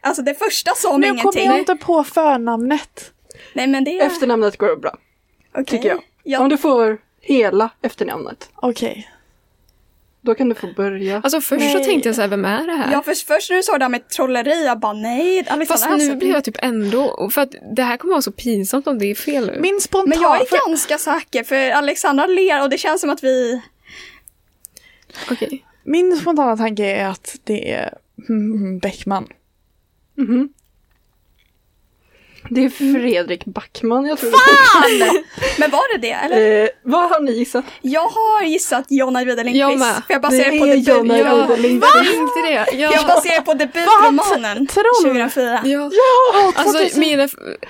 Alltså det första sa mig
Nu kommer
ingenting.
jag inte på förnamnet.
Nej men det är...
Efternamnet går bra,
Okej.
tycker jag.
Ja,
Om du får hela efternamnet,
Okej.
då kan du få börja.
Alltså först så
Nej.
tänkte jag så här, vem är det här?
ja, först, först när du sa det här med trolleri, jag bara nej. Alexandra alltså,
Fast nu
Hassel-
blir jag typ ändå, för att det här kommer vara så pinsamt om det är fel nu.
Min spontan...
Men jag är
för-
ganska säker för Alexandra ler och det känns som att vi...
Okej.
Min spontana tanke är att det är mm, Beckman.
Mhm. Det är Fredrik Backman jag tror.
Men var det det eller?
Eh, vad har ni gissat?
Jag har gissat Jonna Vide
Jag med.
Lindqvist. För jag baserar på,
är
debut...
Jonna
jag...
Ja,
Rydell Lindqvist.
jag tänkte det.
jag
Ja.
baserar på debutromanen
Troll.
2004.
Ja. Alltså, mina,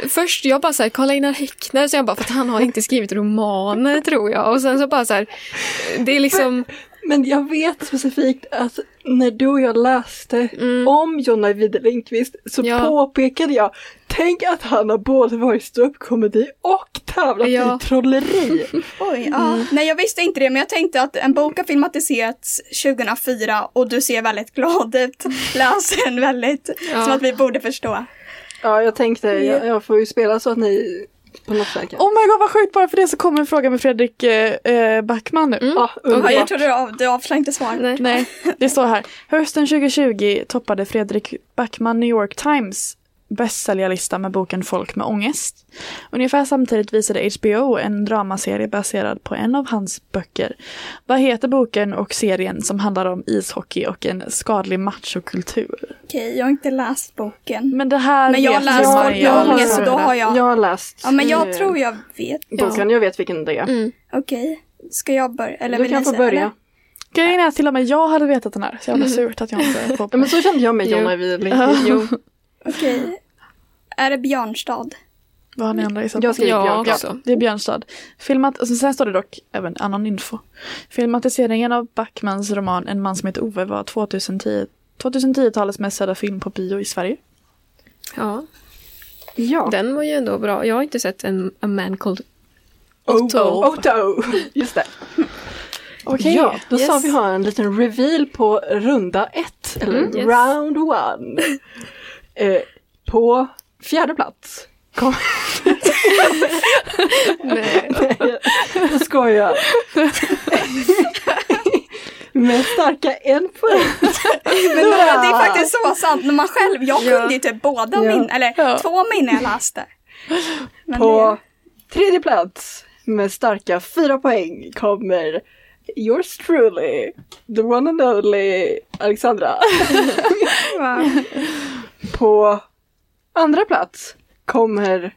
först jag bara såhär, Karl Einar Häckner, så jag bara, för att han har inte skrivit romaner tror jag. Och sen så bara såhär, det är liksom,
Men jag vet specifikt att när du och jag läste
Mm.
om Jonna Vide Lindqvist så
Ja.
påpekade jag Tänk att han har både varit ståuppkomedi och tävlat
Ja.
i trolleri.
Oj, ja.
Mm.
Nej jag visste inte det men jag tänkte att en bok har filmatiserats 2004 och du ser väldigt glad ut. Läsaren väldigt.
Ja.
Som att vi borde förstå.
ja, jag tänkte jag, jag får ju spela så att ni på något sätt kan.
Oh my god vad sjukt, bara för det så kommer en fråga med Fredrik eh, eh, Backman nu.
Mm.
Ja,
Ja,
underbart.
jag trodde du, av, du avslöjade inte svar.
nej.
Nej, det står här. Hösten 2020 toppade Fredrik Backman New York Times bästsäljarlista med boken Folk med ångest. Ungefär samtidigt visade HBO en dramaserie baserad på en av hans böcker. Vad heter boken och serien som handlar om ishockey och en skadlig machokultur?
Okej, jag har inte läst boken.
Men det här
Men jag
vet
läser
Maria.
Folk med jag har ångest och då har jag-
Jag har läst
Ja men jag
eh,
tror jag vet.
boken, jag vet vilken det är.
Okej, ska jag börja? Eller
Du
vill
kan
ni
få
säga,
börja.
eller?
Grejen är att till och med jag hade vetat den här, så jävla surt att jag inte får
Ja,
på.
men så kände jag mig Jonna Vide Lindqvist.
Jo.
Okej. Är det Björnstad?
Vad har ni andra gissat?
Jag skriver
Ja,
Björn.
också.
Det är Björnstad. Filmat, och sen står det dock även annan info. Filmatiseringen av Backmans roman En man som heter Ove var 2010 2010-talets mest sedda film på bio i Sverige.
Ja,
Ja.
den var ju ändå bra. Jag har inte sett en A Man Called
Otto.
Otto.
Otto. Just det.
Okej.
Ja, då sa
yes.
vi ha en liten reveal på runda ett, eller
yes.
round one. eh, på fjärde plats. Kom.
Nej.
Jag skojar. Med starka en poäng.
Men det är faktiskt så sant när man själv, jag kunde ju typ båda
Ja.
min, eller
Ja.
två min när jag läste. Men
På tredje plats med starka fyra poäng kommer Yours truly, the one and only Alexandra.
det var,
På andra plats kommer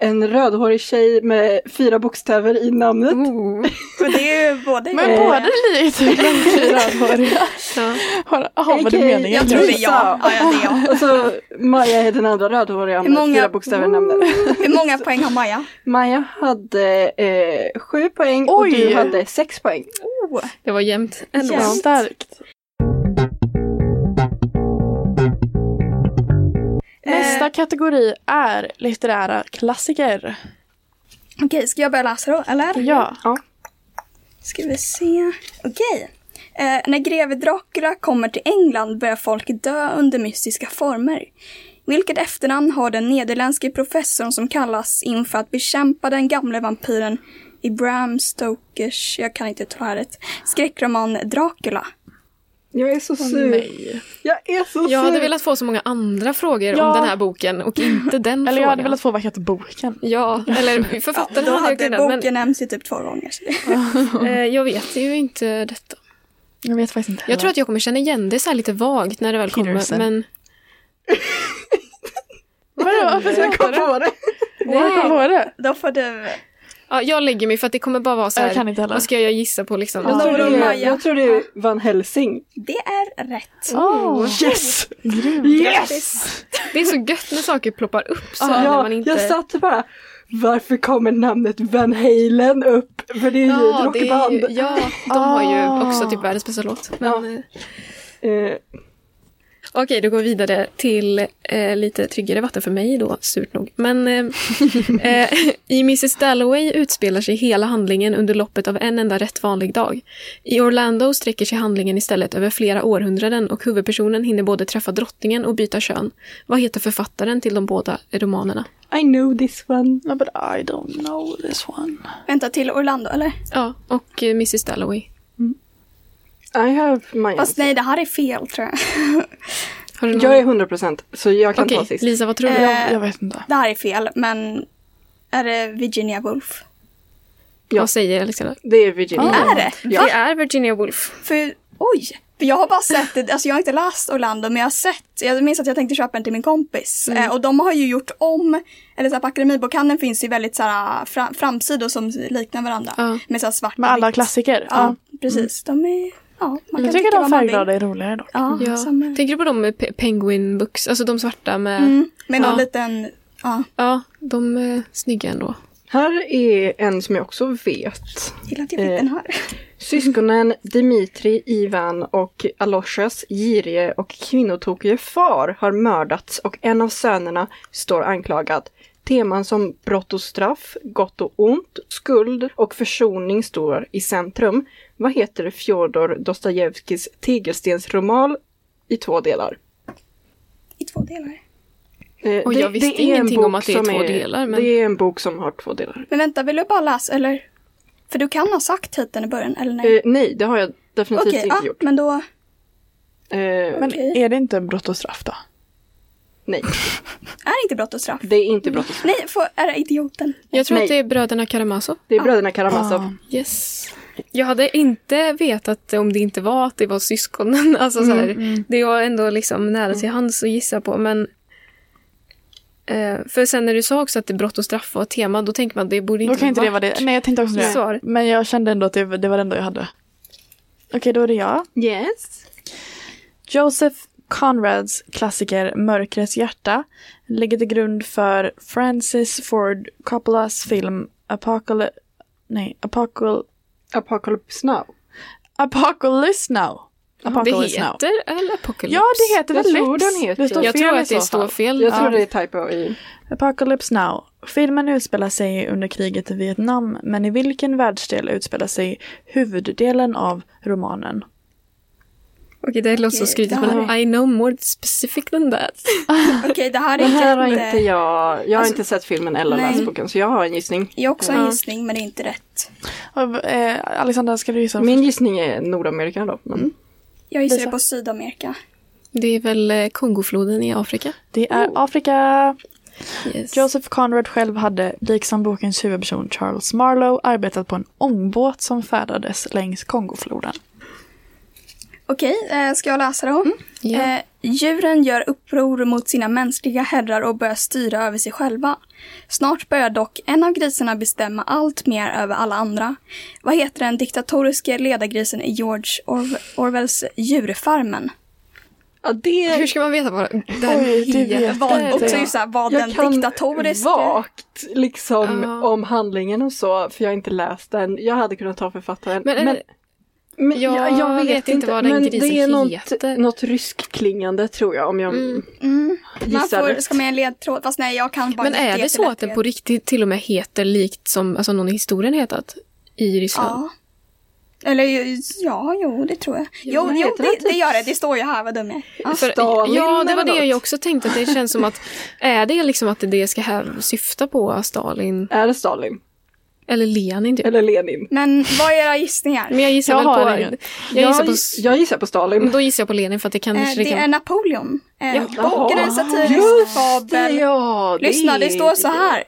en rödhårig tjej med fyra bokstäver i namnet.
Oh.
och det är ju både
Men
Eh.
båda lite rödhåriga.
Ja.
Har- Jaha, var det
AKA,
meningen?
Jag tror det är
Lisa.
jag. Ja, ja, det är jag.
Och så Alltså, Maja är den andra rödhåriga med
Hur många-
fyra bokstäver i namnet.
Hur många poäng har Maja?
Maja hade eh, sju poäng och
Oj.
du hade sex poäng.
Det var jämnt ändå.
Ja.
Starkt. Nästa kategori är litterära klassiker.
Okej, ska jag börja läsa då, eller?
Ja.
Ska vi se. Okej. Eh, när greve Dracula kommer till England börjar folk dö under mystiska former. Vilket efternamn har den nederländske professorn som kallas in för att bekämpa den gamle vampyren i Bram Stokers, jag kan inte uttala det, skräckroman Dracula?
Jag är så sur.
Nej.
Jag är så sur.
Jag hade velat få så många andra frågor
Ja.
om den här boken och inte den
Eller jag
frågan.
hade velat få vad heter boken?
Ja, eller författaren
Då
hade jag
hade
kunnat,
boken
men
nämnts ju typ två gånger. så-
eh, jag vet ju inte detta.
Jag vet faktiskt inte.
Jag tror att jag kommer känna igen det så här lite vagt när det väl kommer,
Peterson.
men...
Vadå, varför ska jag
Kom på det.
komma på det?
Då får du...
Ja, jag lägger mig för att det kommer bara vara så här,
Jag kan inte heller.
vad ska jag gissa på liksom?
Jag tror Alltså, det
Laura och
är,
Maja.
jag tror det är Van Helsing.
Det är rätt.
Oh.
Yes! Yes!
Det är så gött när saker ploppar upp så här, när
Ja,
man inte...
jag satt bara varför kommer namnet Van Halen upp? För det är ju ett
det är
rockband.
ju, ja, de har ju
Ah.
också typ världens bästa låt. Men,
Ja.
eh,
Eh,
Okej, då går vi vidare till eh, lite tryggare vatten för mig då, surt nog. Men eh, eh, i Mrs Dalloway utspelar sig hela handlingen under loppet av en enda rätt vanlig dag. I Orlando sträcker sig handlingen istället över flera århundraden och huvudpersonen hinner både träffa drottningen och byta kön. Vad heter författaren till de båda romanerna?
I know this one.
No, but I don't know Oh. this one.
Vänta, till Orlando eller?
Ja, och eh, Mrs Dalloway.
I have my
Fast
answer.
nej, det här är fel tror jag.
Har du någon?
Jag är 100% så jag kan
Okej,
ta sist.
Lisa, vad tror du?
Eh,
Jag vet inte.
Det här är fel, men är det Virginia Woolf?
ja.
Vad säger Alexandra?
Det är Virginia.
Är
Ah.
det?
Det är Virginia Woolf.
För, oj! För jag har bara sett det, alltså jag har inte läst Orlando men jag har sett, jag minns att jag tänkte köpa en till min kompis.
Mm.
Eh, och de har ju gjort om, eller så här, på Akademibokhandeln finns ju väldigt så här, fra, framsidor som liknar varandra.
Ja. Mm.
Med så här svart och
Med alla
vitt.
klassiker.
Ja,
Ja.
precis. De är, ja, man kan
Jag tycker
tycka
de
vad man vill.
färgglada är roligare dock.
Ja,
Ja.
samma. Mm,
Tänker du på de med pe- Penguin Books? Alltså de svarta med...
med någon
Ja.
liten, ja,
Ja, de är snygga ändå.
Här är en som jag också vet.
gillar att jag fick
Eh.
den här.
Syskonen Dimitri, Ivan och Aloshas girige och kvinnotokige far har mördats och en av sönerna står anklagad. Teman som brott och straff, gott och ont, skuld och försoning står i centrum. Vad heter Fjodor Dostojevskijs Tegelstensroman i två delar?
I två delar.
Eh,
Och jag visste
är en
ingenting
bok
om att det är
som
två delar, men-
Det är en bok som har två delar.
Men vänta, vill du bara läsa eller? För du kan ha sagt titeln i början, eller nej?
Eh, nej, det har jag definitivt
Okej, ah.
inte
ja,
gjort.
men då,
Eh,
Men
Okej.
är det inte brott och straff då?
nej,
är det inte brott och straff?
det är inte brott och straff.
Nej, får, är det idioten?
Jag tror
Nej.
att det är bröderna Karamazov.
Det är bröderna Karamazov.
Ah.
Yes. Jag hade inte vetat om det inte var att det var syskonen. Alltså så
Mm,
här, Det var ändå liksom nära till hands att gissa på. Men, eh, för sen när du sa också att det brott och straff var ett tema, då tänker man att det borde
Då
inte,
kan inte det vara det. Nej, jag tänkte också det.
Svar.
Men jag kände ändå att det, det var det enda jag hade. Okej, då är det jag.
Yes.
Joseph Conrads klassiker Mörkrets hjärta ligger till grund för Francis Ford Coppolas film Apocalypse... Nej, Apocal...
Apocalypse Now.
Apocalypse Now.
Det
Apocalypse Now.
heter eller Apocalypse?
Ja, det heter
Jag
väl
tror
Lips.
den heter-
Det står
Jag
fel
tror
i
att det
så
står
fall.
fel.
Jag tror
Ja.
det är typo i...
Apocalypse Now. Filmen utspelar sig under kriget i Vietnam, men i vilken världsdel utspelar sig huvuddelen av romanen?
Okej, det låter så
Okej,
skrytigt
det här
men I know more specific than that.
Okej, det här är
Det här har
inte-
inte jag... Jag har
Alltså-
inte sett filmen eller
Nej.
läst boken, så jag har en gissning.
Jag har också
Ja.
en gissning men det är inte rätt.
Och, eh, Alexandra, ska du gissa?
Min gissning är Nordamerika då. Men...
Mm. Jag gissade
Lisa.
på Sydamerika.
Det är väl eh, Kongofloden i Afrika?
Det är Afrika.
Yes.
Joseph Conrad själv hade, liksom bokens huvudperson Charles Marlowe, arbetat på en ångbåt som färdades längs Kongofloden.
Okej, eh, ska jag läsa
Mm,
då?
Ja.
Eh, djuren gör uppror mot sina mänskliga herrar och börjar styra över sig själva. Snart börjar dock en av grisarna bestämma allt mer över alla andra. Vad heter den diktatoriske ledargrisen i George Orw- Orwells Djurfarmen?
Ja, det...
Hur ska man veta vad det här
Oj, det vet
heter?
jag
Vad,
inte.
också just såhär, vad den
Jag kan
diktatoriska...
vagt liksom
Ja.
om handlingen och så, för jag har inte läst den. Jag hade kunnat ta författaren.
Men är det-
men
jag vet inte vad den
men
grisen
det är
heter.
något, något ryskklingande tror jag, om jag
Mm. Man
gissar
får,
rätt.
ska man ge en ledtråd? Fast nej, jag kan bara
Men
inte
är det så att den på riktigt till och med heter likt som alltså någon i historien hetat i Ryssland?
Ja. Eller ju- ja, jo, det tror jag. Jo,
men
jo
heter
det,
det
det
typ-
gör det. Det står ju här, vad dum jag är. Ja.
För,
Stalin
ja, det
eller
var det
något?
jag också tänkte. Att det känns som att är det liksom att det ska här syfta på Stalin
Är det Stalin?
eller Lenin? Typ.
Eller Lenin?
Men vad är era gissningar?
Men jag gissar
Jag
väl
har
på...
ingen.
Jag gissar på...
jag gissar på Stalin.
Men då gissar jag liksom- på Lenin för att det kan...
Eh, det är Napoleon. Eh, boken är en satirisk
Just det,
fabel.
ja! Det
Lyssna, det
är-
står så här.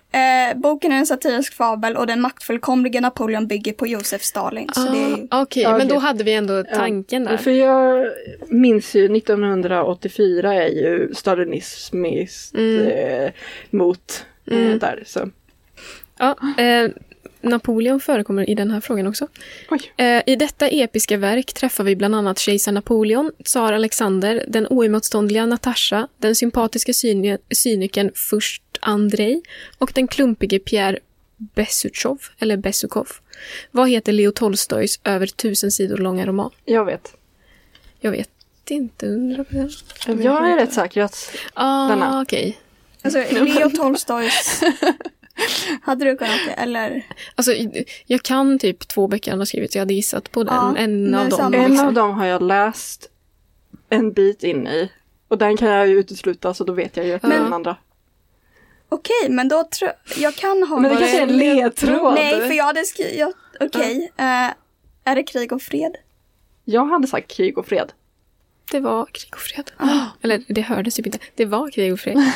Eh, boken är en satirisk fabel och den maktfullkomlige Napoleon bygger på Josef Stalin. Så det är ju...
Ah, Okej,
Ja,
men då
okej.
hade vi ändå tanken där.
För jag minns ju 1984 är ju stalinismiskt eh, mot eh, där. Så.
Ja, eh, Napoleon förekommer i den här frågan också.
Oj.
Eh, I detta episka verk träffar vi bland annat kejsar Napoleon, tsar Alexander, den oemotståndliga Natasha, den sympatiska cyni- cynikern Furst Andrei och den klumpige Pierre Besuchov, eller Besukov. Vad heter Leo Tolstojs över tusen sidor långa roman?
Jag vet.
Jag vet inte, hundra procent.
Jag är rätt säker att
Ah,
Denna.
okej.
Alltså Leo Tolstojs... Hade du kunnat det? Eller?
Alltså, jag kan typ två böcker han har skrivit, så jag hade gissat på den,
Ja,
en av
men
dem.
samma.
en
liksom.
av dem har jag läst en bit in i. Och den kan jag ju utesluta så då vet jag ju att det är
Men-
den andra.
Okej, men då tror jag kan ha...
Men det
varit-
kanske är en ledtråd.
Nej, för jag hade skrivit... jag- Okej. eh, är det krig och fred?
Jag hade sagt krig och fred.
Det var krig och fred.
Ah.
Eller det hördes typ inte. Det var krig och fred.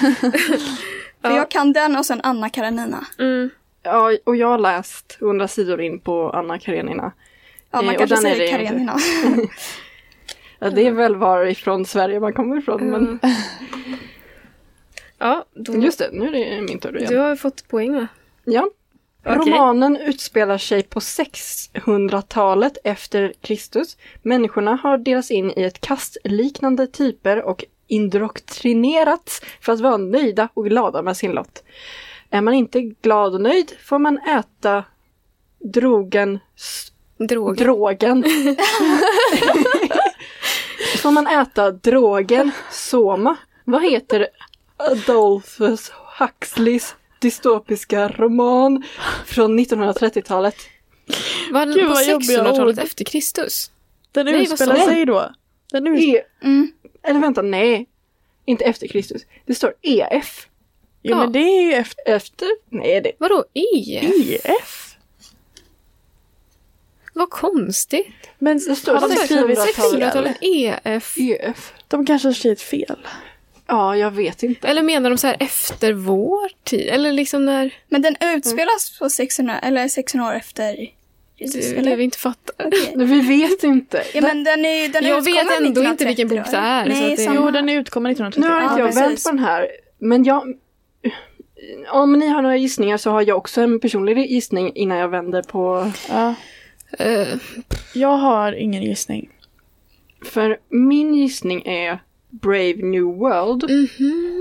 För
Ja.
jag kan den och sen Anna Karenina.
Mm.
Ja, och jag har läst 100 sidor in på Anna Karenina.
Ja,
Eh,
man
och
kanske
den är
säger
det ju
Karenina.
Ja, det är väl varifrån Sverige man kommer ifrån. Men
Ja, då,
just det, nu är det min tur
du
igen.
har fått poäng va?
Ja.
Okej.
Romanen utspelar sig på 600-talet efter Kristus. Människorna har delats in i ett kastliknande typer och indoktrinerats för att vara nöjda och glada med sin lott. Är man inte glad och nöjd får man äta drogen s-
Drog.
Drogen. Får man äta drogen Soma? Vad heter Adolphus Huxleys dystopiska roman från 1930-talet?
var den
Gud,
på
vad jobbiga
600-talet
ord.
efter Kristus?
Den
Nej, vad
utspelar
sa du?
sig då. Den utspelar
E-
Mm.
Eller vänta, nej. Inte efter Kristus. Det står EF.
Jo
Ja.
men det är ju efter
Efter? Nej, det...
Vadå E?
IF.
Vad konstigt. E,
Men
Det står
har de skrivit
600-talet.
600-talet EF.
E.
EF.
De kanske har skrivit fel.
Ja, jag vet inte.
Eller menar de så här efter vår tid? Eller liksom när...
Men den utspelas på 600, eller 600 år efter Kristus,
Mm. Du,
eller?
Eh, vi inte fattar.
Okej.
Vi vet inte.
Ja, men den är, den
Jag vet
utkommer
ändå inte
1930,
vilken bok det är, så
Nej,
att det-
samma.
Jo, den utkommer 1930.
Nu har inte
Ja,
jag vänt
precis.
på den här, men jag... Om ni har några gissningar så har jag också en personlig gissning innan jag vänder på...
Ja.
Eh,
Jag har ingen gissning.
För min gissning är Brave New World.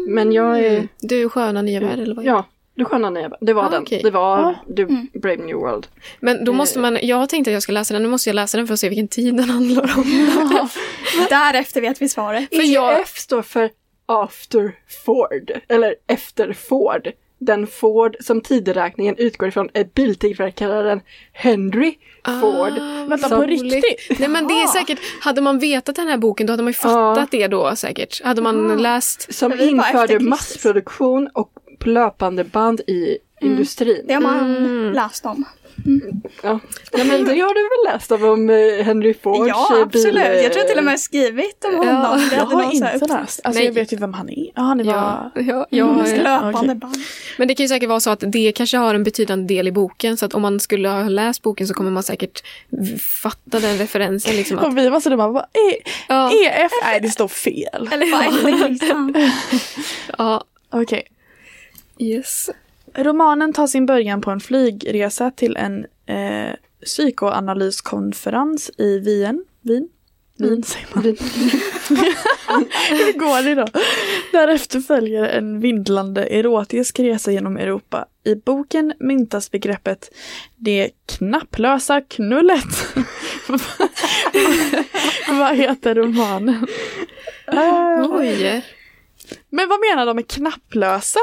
Men jag är...
hmm. du sköna nya värld eller vad?
Mm. Ja, du sköna nya värld. Det var
Ah,
den.
okej.
Det var
Ja.
du, Brave New World.
Men
Eh.
då måste man... Jag tänkte att jag skulle läsa den. Nu måste jag läsa den för att se vilken tid den handlar om.
Därefter vet vi svaret.
För jag-
F står för After Ford, eller Efter Ford. Den Ford som tideräkningen utgår ifrån är biltillverkaren Henry Ford.
Vänta,
som-
på riktigt? Ah.
Nej men det är säkert, hade man vetat den här boken då hade man ju fattat det då säkert. Hade man
Ah.
läst.
som
Det var efter
införde
Kristus.
massproduktion och på löpande band i
Mm.
industrin.
Det har man
Mm.
läst om.
Ja. ja, men det har du väl läst om, om eh, Henry Fords
Ja,
eh,
absolut.
bil...
Jag tror jag till och med skrivit om honom.
Ja,
Det
Jag
hade någon
har
så här
inte
upp-
läst. Alltså
Nej.
jag vet ju vem han är. Ja, han är bara...
ja, ja, ja.
Löpande
Okej.
band.
Men det kan ju säkert vara så att det kanske har en betydande del i boken så att om man skulle ha läst boken så kommer man säkert v- fatta den referensen. Liksom att,
Och vi var så dumma. Bara, e-
Ja.
EF? Nej, det står fel.
Eller hur?
ja,
Okej.
yes.
Romanen tar sin början på en flygresa till en eh, psykoanalyskonferens i Wien. Wien? Wien säger man. Hur går det då? Därefter följer en vindlande erotisk resa genom Europa. I boken myntas begreppet det knapplösa knullet. vad heter romanen? Eh,
Oj.
Men vad menar de med knapplösa?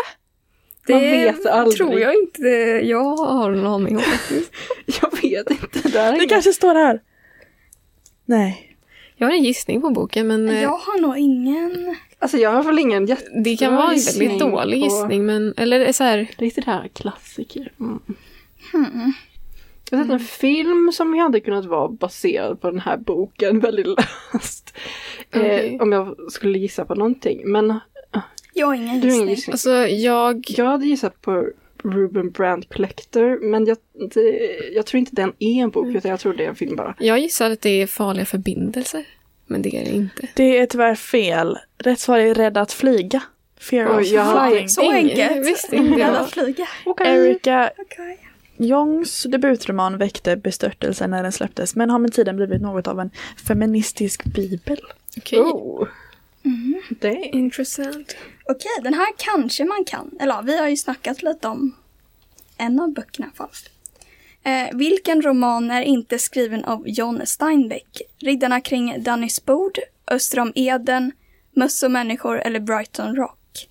Det
Man vet aldrig.
tror jag inte jag har någon aning om.
eh, Jag vet inte. Där
Det kanske står här. Nej.
Jag har en gissning på boken men eh,
Jag har nog ingen...
Alltså jag har väl ingen jätte...
det kan
Jag har
vara en
gissning
väldigt dålig
på-
gissning. Men, eller så här,
Riktigt här klassiker. Mm.
Hmm.
Jag
Mm.
har sett en film som hade kunnat vara baserad på den här boken väldigt löst.
Okej.
Eh, om jag skulle gissa på någonting. Men
Jag har ingen
du har
gissning.
ingen gissning?
alltså jag
Jag hade gissat på Ruben Brand Collector men jag, det, jag tror inte den är en bok utan jag tror det är en film bara.
Jag gissar att det är farliga förbindelser. Men det är det inte.
Det är tyvärr fel. Rätt svar är Rädd att flyga. Fear
Oj,
of
jag har-
flying.
Så enkelt.
Visst, inte
Rädd
jag.
att flyga.
Okej.
Erika
Okej.
Jongs debutroman väckte bestörtelse när den släpptes men har med tiden blivit något av en feministisk bibel.
Okej.
Oh. Dang.
Intressant.
Okej, den här kanske man kan. Eller ja, vi har ju snackat lite om en av böckerna i alla fall. Eh, vilken roman är inte skriven av John Steinbeck? Riddarna kring Dannys bord, Öster om Eden, Möss och människor eller Brighton Rock?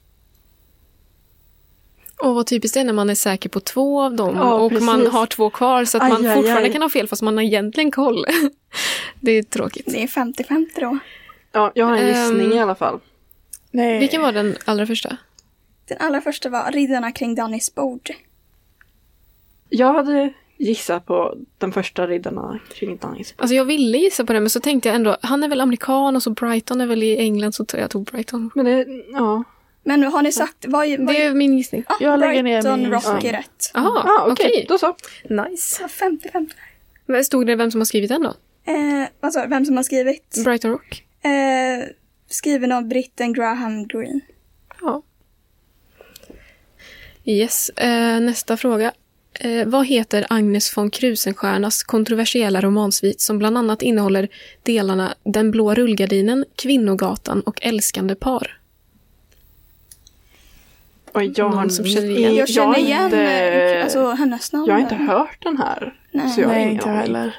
Och vad typiskt det är när man är säker på två av dem
Ja,
och
precis.
man har två kvar så att
Aj,
man
aj,
fortfarande
aj.
kan ha fel fast man har egentligen koll. det är tråkigt.
Det är 50-50 då.
Ja, jag har en gissning
Ehm.
i alla fall.
Nej.
Vilken var den allra första?
Den allra första var Riddarna kring Dannys bord.
Jag hade gissat på den första riddarna kring Dannys.
Alltså jag ville gissa på det men så tänkte jag ändå, han är väl amerikan och så Brighton är väl i England så jag tog Brighton.
Men det, ja.
Men har ni sagt vad... vad
Det är min gissning.
ah,
Jag lägger ner
Brighton
min
Rock
gissning.
är rätt. Ah,
Jaha,
Ah, okej,
okej.
då så.
Nice.
Så 50-50.
Men Stod det vem som har skrivit den då?
Eh, vad sa du? Vem som har skrivit?
Brighton Rock?
Eh, skriven av britten Graham Greene.
Ja. Yes, eh, nästa fråga. Eh, vad heter Agnes von Krusenstjernas kontroversiella romansvit som bland annat innehåller delarna Den blå rullgardinen, Kvinnogatan och Älskande par?
Och jag har
Någon som känner igen.
jag
Jag
har
känner igen
inte,
eh, alltså, hennes namn.
Jag har inte
där.
hört den här.
Nej.
Så jag har
Nej,
ingen
inte jag
aning.
heller.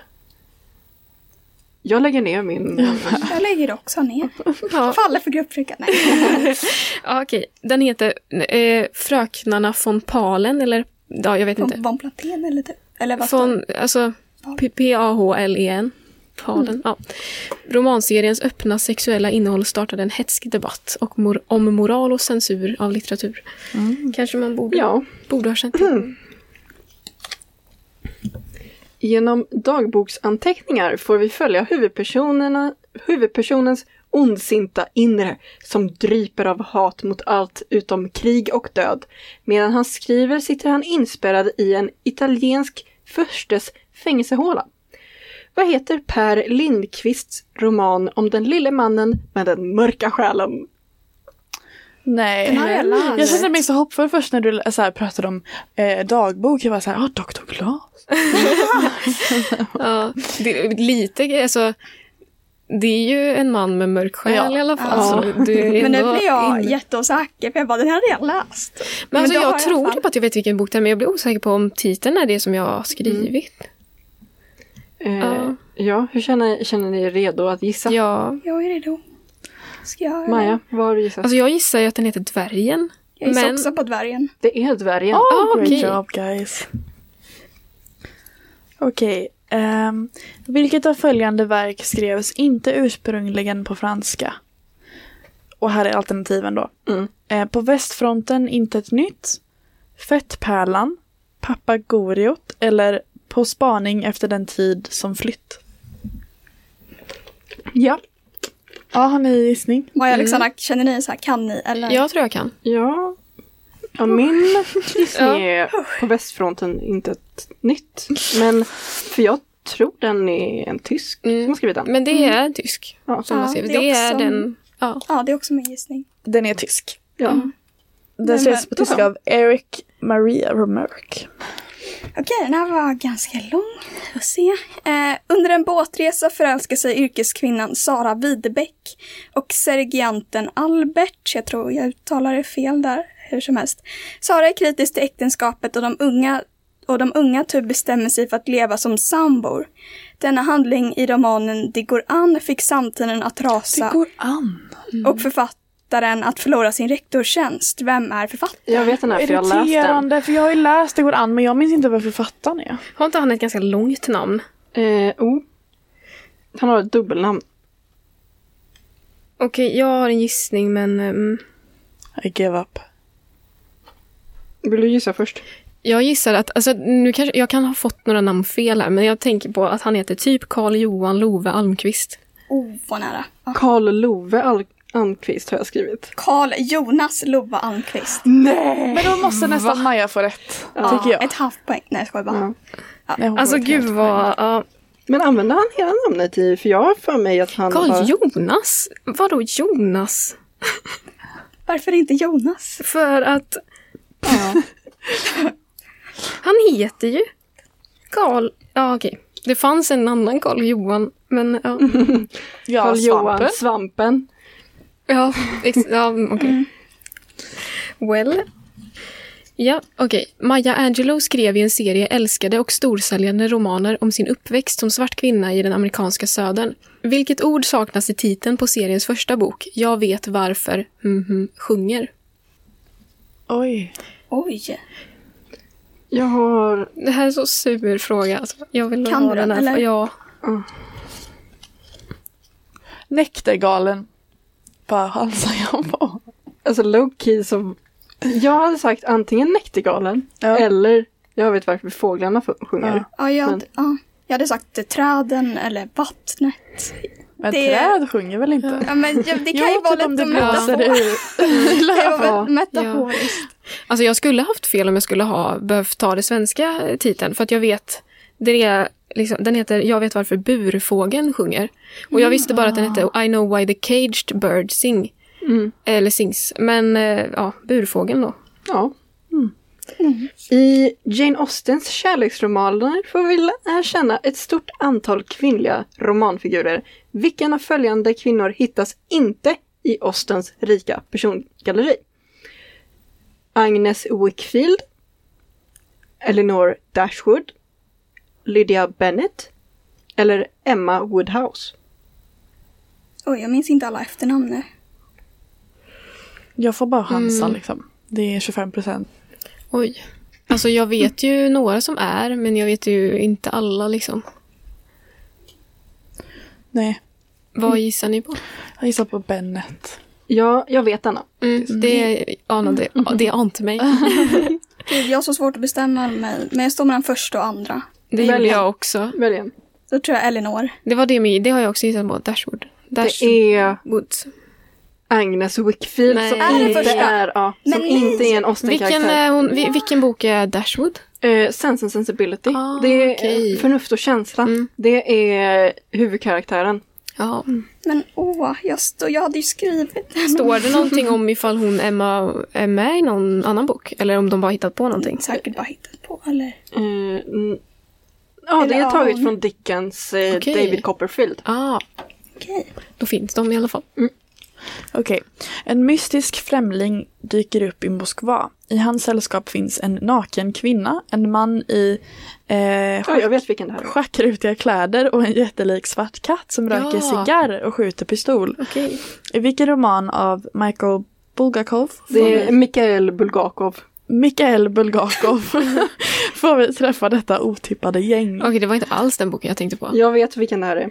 Jag lägger ner min...
Jag lägger också ner.
Ja,
Faller för grupptrycket. Nej.
ja, okej. Den heter eh, Fröknarna von Palen, eller ja, jag vet inte.
Von- Von Platén eller typ. Eller vad står
Von, alltså, P- P-A-H-L-E-N. Palen. Ja. Romanseriens öppna sexuella innehåll startade en hätsk debatt och mor- om moral och censur av litteratur. Kanske man borde
ja.
Borde ha känt till.
Genom dagboksanteckningar får vi följa huvudpersonerna, huvudpersonens ondsinta inre som dryper av hat mot allt utom krig och död. Medan han skriver sitter han inspärrad i en italiensk förstes fängelsehåla. Vad heter Per Lindqvists roman om den lille mannen med den mörka själen?
Nej.
har jag läst.
Jag kände mig så hoppfull först när du så här, pratade om eh, dagbok. Jag var så här, ah, Dr. Glas.
Ja, det, är lite, alltså. Det är ju en man med mörk själ
Ja,
i alla fall.
ja.
Så du är
Men nu
ändå
blir jag
in-
jätteosäker för jag bara, den här hade jag läst.
Men alltså,
då
jag,
har i alla
tror
fall-
typ att jag vet vilken bok det är, men jag blir osäker på om titeln är det som jag
Mm.
har skrivit.
Eh,
Ja.
Ja, hur känner, känner ni er redo att gissa?
Ja.
Jag är redo. Ska jag göra det?
Maja, vad har du gissat?
Alltså jag gissar ju att den heter Dvärgen.
Jag gissar
men-
också på dvärgen.
det är dvärgen.
Ah,
Great
okej.
job guys. Okej. ehm, vilket av följande verk skrevs inte ursprungligen på franska? Och här är alternativen då.
Mm.
Eh, på västfronten intet nytt. Fettpärlan. Papagoriot. Eller På spaning efter den tid som flytt.
Ja.
Ja, har ni gissning?
Maja och Alexandra, känner ni så här, kan ni? Eller?
Jag tror jag kan.
Ja. ja min gissning är på västfronten inte ett nytt. Men för jag tror den är en tysk
Mm.
som har skrivit den.
Men det är tysk.
Ja,
Som
Ja,
har skrivit.
det är
Det är
också-
den. Ja.
Ja, det är också min gissning.
Den är tysk.
ja.
Den
Men
skrevs på
vänta.
tyska av Eric Maria Remarque.
Okej, den här var ganska lång. Vi får se. Eh, under en båtresa förälskar sig yrkeskvinnan Sara Widebeck och sergeanten Albert. Jag tror jag uttalar det fel där, hur som helst. Sara är kritisk till äktenskapet och de unga och de unga tur bestämmer sig för att leva som sambor. Denna handling i romanen Det går an fick samtiden att rasa
går an.
och författaren att förlora sin rektorstjänst. Vem är författaren?
Jag vet den här för jag har läst den.
Irriterande, för jag har ju läst Det går an men jag minns inte vad författaren är.
Har inte han ett ganska långt namn?
Eh, oh. Han har ett dubbelnamn.
Okej, jag har en gissning men mm,
I give up.
Vill du gissa först?
jag gissar att, alltså, nu kanske, jag kan ha fått några namn fel här men jag tänker på att han heter typ Karl Johan Love Almqvist.
Oh, vad nära. Ja.
Karl Love Al- Almqvist har jag skrivit.
Karl Jonas Lova Almqvist.
Nej!
Men då måste nästan Maja få rätt. Tycker jag.
Ett halvt poäng. Nej, jag skojar bara.
Ja.
Nej, hon
Alltså
får ett
gud
helt
vad... ja.
Men använder han hela namnet i? För jag har för mig att han
Karl
har...
Jonas? Vadå Jonas?
Varför inte Jonas?
För att... Han heter ju Karl... Ja, okej. Det fanns en annan Karl Johan, men ja.
Ja,
Karl Johan,
svampen.
svampen.
Ja, ex- ja okej.
Mm.
Well. Ja, okej. Maya Angelou skrev i en serie älskade och storsäljande romaner om sin uppväxt som svart kvinna i den amerikanska södern. Vilket ord saknas i titeln på seriens första bok, Jag vet varför, mhm, sjunger?
Oj.
Oj.
Jag har...
Det här är så sur fråga. Alltså, jag vill
Kan
ha
du
den
den,
här.
eller?
Ja.
Näktergalen. Bara halsar jag på.
Alltså low key så... Jag hade sagt antingen Näktergalen
Ja.
eller Jag vet varför fåglarna f- sjunger.
Ja.
Ja, jag,
Men-
ja, jag hade sagt eh, träden eller vattnet.
Men
Det-
träd sjunger väl inte?
Ja, men ja, det kan
Jo,
ju vara
typ om
lite
det blåser
metafor. Det var
Ja.
väl metaforiskt.
Alltså jag skulle haft fel om jag skulle ha behövt ta det svenska eh, titeln för att jag vet det är liksom, den heter Jag vet varför burfågeln sjunger. Och jag visste bara att den hette I know why the caged bird sing.
Mm.
Eller sings. Men eh, ja, burfågeln då.
Ja. Mm. I Jane Austens kärleksromaner får vi lära känna ett stort antal kvinnliga romanfigurer. Vilken av följande kvinnor hittas inte i Austens rika persongalleri? Agnes Wickfield, Eleanor Dashwood, Lydia Bennett eller Emma Woodhouse?
Oj, jag minns inte alla efternamn nu.
Jag får bara chansa liksom. Det är 25 procent.
Oj. Alltså jag vet ju några som är men jag vet ju inte alla liksom.
Nej,
Vad gissar ni på?
jag gissar på Bennet.
Ja, jag vet denna.
Mm, det anade, det ante mig.
Gud, Jag har så svårt att bestämma mig, men jag står mellan första och andra.
Det gjorde
Välja.
jag också.
Välj en.
Då tror jag Elinor.
Det var det med, det har jag också gissat på. Dashwood.
Det
Dashwood.
är
Woods.
Agnes Wickfield
Nej.
som
Är det
inte
första?
är, ja, som
Men
inte är en Austen-karaktär.
Vilken, eh, är hon, vi, vilken bok är Dashwood?
Eh, sense and sensibility.
Ah,
det är
okej.
eh, förnuft och känsla.
Mm.
Det är huvudkaraktären.
Ja.
Men åh, jag, stå, jag hade ju skrivit den.
Mm. Står det någonting om ifall hon Emma är med i någon annan bok? Eller om de bara hittat på någonting?
Säkert bara hittat på, eller?
Eh, mm. Ja, det
Eller
är taget
hon.
från Dickens eh,
Okej.
David Copperfield.
Ah,
Okej.
då finns de i alla fall.
Okej. En mystisk främling dyker upp i Moskva. I hans sällskap finns en naken kvinna, en man i eh,
Ja, jag vet vilken det här är.
schackrutiga kläder och en jättelik svart katt som röker
Ja.
cigarr och skjuter pistol.
Okej.
I vilken roman av Michael Bulgakov
Det är Mikhail Bulgakov.
Mikael Bulgakov får vi träffa detta otippade gäng.
Mm. Okej, det var inte alls den boken jag tänkte på.
Jag vet vilken det här är.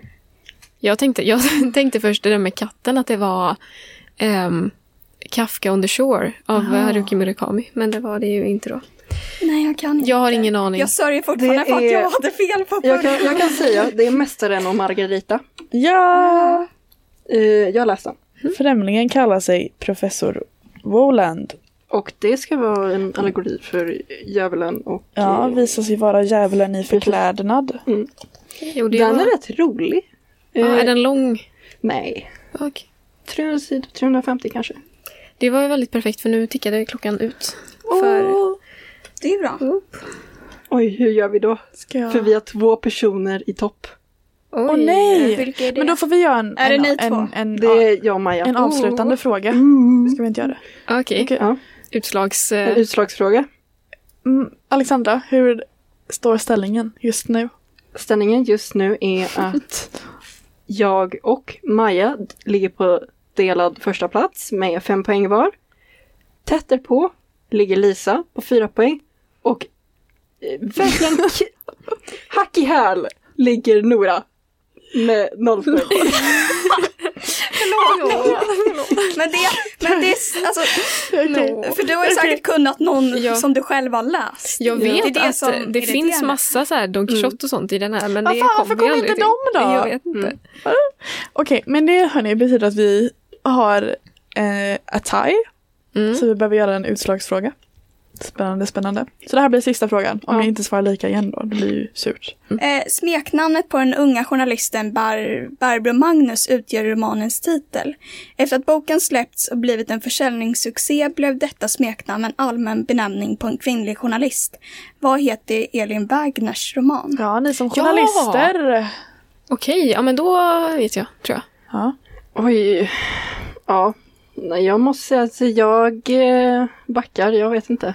Jag tänkte, jag tänkte först det där med katten, att det var ehm, Kafka on the Shore av Haruki Murakami. Men det var det ju inte då.
Nej, jag kan inte.
Jag har ingen aning.
Jag sörjer fortfarande
Det
för att
är-
jag hade fel på
Jag
början.
kan, jag kan säga, det är Mästaren och Margarita.
Ja!
Eh, jag läste den.
Mm.
Främlingen kallar sig Professor Woland.
Och det ska vara en allegori för djävulen och...
Ja,
eh,
visar sig vara djävulen i förklädnad.
Jo, det
Den
var-
är rätt rolig.
Ja,
Eh,
är den lång?
Nej,
Okej.
300 sidor, 350 kanske.
Det var ju väldigt perfekt för nu tickade klockan ut. För...
Det är bra.
Oj, hur gör vi då?
Ska jag...
För vi har två personer i topp.
Åh nej!
Vilka är det?
Men då får vi göra en,
Är det
en,
ni två? Oh.
en, en,
Det är Mm. jag och Maja.
en avslutande fråga. Ska vi inte göra det?
Okej,
Okej.
Ja,
utslags...
en
eh,
utslagsfråga.
Mm, Alexandra, hur står ställningen just nu?
Ställningen just nu är att jag och Maja d- ligger på delad första plats med fem poäng var. Tätt därpå ligger Lisa på fyra poäng och eh, verkligen k- hack i häl ligger Nora med noll poäng.
Men det, men det är, alltså, för du har ju säkert kunnat någon
Ja.
som du själv har läst.
Jag
Det är
vet
det som
att det
irriterar
finns
mig.
massa så här Don Quixote och sånt i den här men
Vad
det
Ah, fan, varför
kommer
kommer
jag aldrig
inte
till.
de då?
Jag vet inte.
Okej, men det hörni betyder att vi har eh, a tie.
Mm.
Mm. Så vi behöver göra en utslagsfråga. Spännande, spännande. Så det här blir sista frågan. Om
Ja.
ni inte svarar lika igen då, det blir ju surt.
Eh, smeknamnet på den unga journalisten Bar- Barbro Magnus utgör romanens titel. Efter att boken släppts och blivit en försäljningssuccé blev detta smeknamn en allmän benämning på en kvinnlig journalist. Vad heter Elin Wägners roman?
Ja, ni som
journalister.
journalister.
Okej, ja men då vet jag, tror jag.
Ja.
Oj. Ja. Nej, jag måste säga att jag eh, backar. Jag vet inte.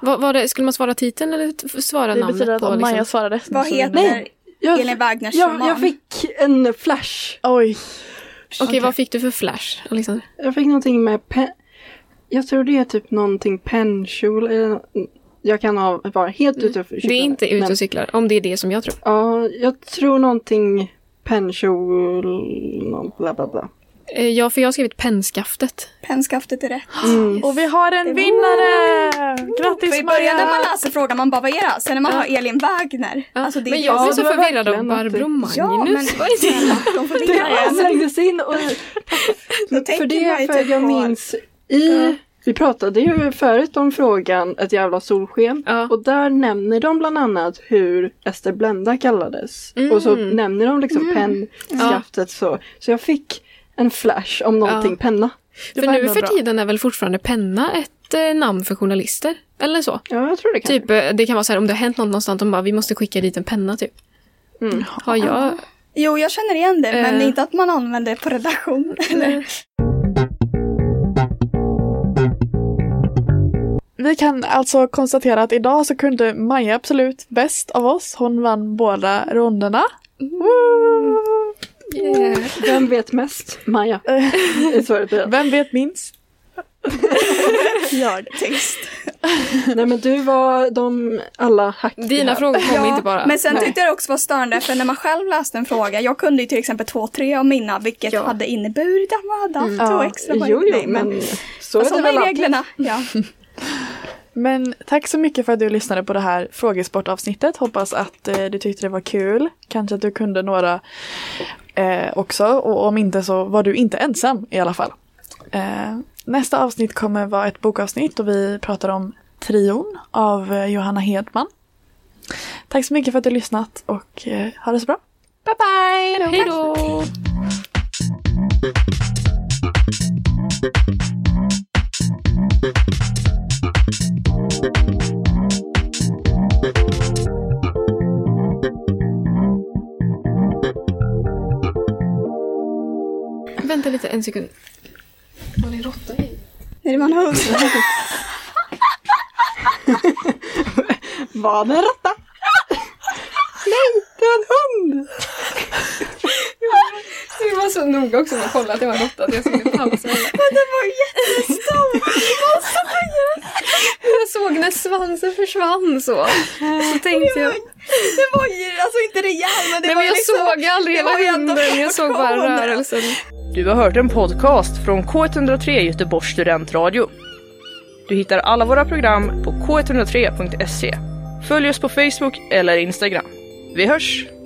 Var, var det, skulle man svara titeln eller t- svara
Det
namnet
betyder att
på?
om Maja
liksom?
svarar rätt
Vad
så vinner ni.
heter
Jag,
Elin Wägners
jag,
roman?
jag fick en flash.
Oj.
Okej, vad fick du för flash, Alexander?
Jag fick någonting med pen... Jag tror det är typ någonting pennkjol eller nå- Jag kan ha vara helt ute och
Mm. Det är inte ute och cyklar, om det är det som jag tror.
Ja, jag tror någonting pennkjol... någon Bla bla bla.
Eh, Ja, för jag har skrivit pennskaftet.
Penskaftet är rätt.
Och vi har en vinnare! Grattis
I början när
Maja!
man läser frågan man bara vad är det? här?" Sen när man hör Elin Wägner.
Ja,
Alltså, det är
men jag
det
blev
som-
så
Ja, det var
förvirrad av
verkligen något-
Barbro Magnus.
Ja, men snälla, de får vinna
Det
alltså-
en.
slängdes in och...
Då tänker
För
man ju
det, för
typ
jag
på-
minns i... Vi pratade ju förut om frågan Ett jävla solsken.
Ja.
Och där nämner de bland annat hur Ester Blenda kallades.
Mm.
Och så nämner de liksom pennskaftet så. Så jag fick en flash om någonting
Ja.
penna.
Det
För
var
nu
ändå
för
bra.
tiden är väl fortfarande penna ett eh, namn för journalister? Eller så?
Ja, jag tror det kan.
Typ, eh, det kan vara så här om det har hänt något någonstans, de bara vi måste skicka dit en penna typ.
Mm.
Har jag?
Jo, jag känner igen det, men
Eh.
det är inte att man använder det på redaktion. Eller?
Vi kan alltså konstatera att idag så kunde Maja absolut bäst av oss. Hon vann båda ronderna. Woo!
Vem vet mest? Maja. Är svaret på det.
Vem vet minst? Jag.
Text.
Nej men du var de alla hack.
Dina frågor kom inte bara.
Men sen
Nej.
tyckte jag det också var störande för när man själv läste en fråga, jag kunde ju till exempel två, tre av mina vilket
Ja. Mm.
hade inneburit att man hade haft två
Ja.
extra poäng.
Jo, jo,
Nej,
men så är det
Sådana
väl
är
alltid.
reglerna. Ja.
Alltså, Men tack så mycket för att du lyssnade på det här frågesportavsnittet. Hoppas att eh, du tyckte det var kul. Kanske att du kunde några eh, också. Och om inte så var du inte ensam i alla fall. Eh, nästa avsnitt kommer vara ett bokavsnitt och vi pratar om Trion av eh, Johanna Hedman. Tack så mycket för att du lyssnat och eh, ha det så bra. Bye bye!
Hej då! Vänta lite, en sekund. Var det råtta i?
Nej, det var en hund.
Var det en råtta? Nej, det var en hund!
Det var så noga också med att kolla att det var en råtta så jag skulle pausa.
det var jättestor!
Jag såg när svansen försvann så. Så tänkte jag...
Det var ju alltså inte rejäl, men det
Nej
var
men jag
liksom...
såg aldrig
det
hela
var ju ändå
hunden, jag såg bara
proportioner.
rörelsen.
Du har hört en podcast från K103 Göteborgs studentradio. Du hittar alla våra program på k103.se. Följ oss på Facebook eller Instagram. Vi hörs!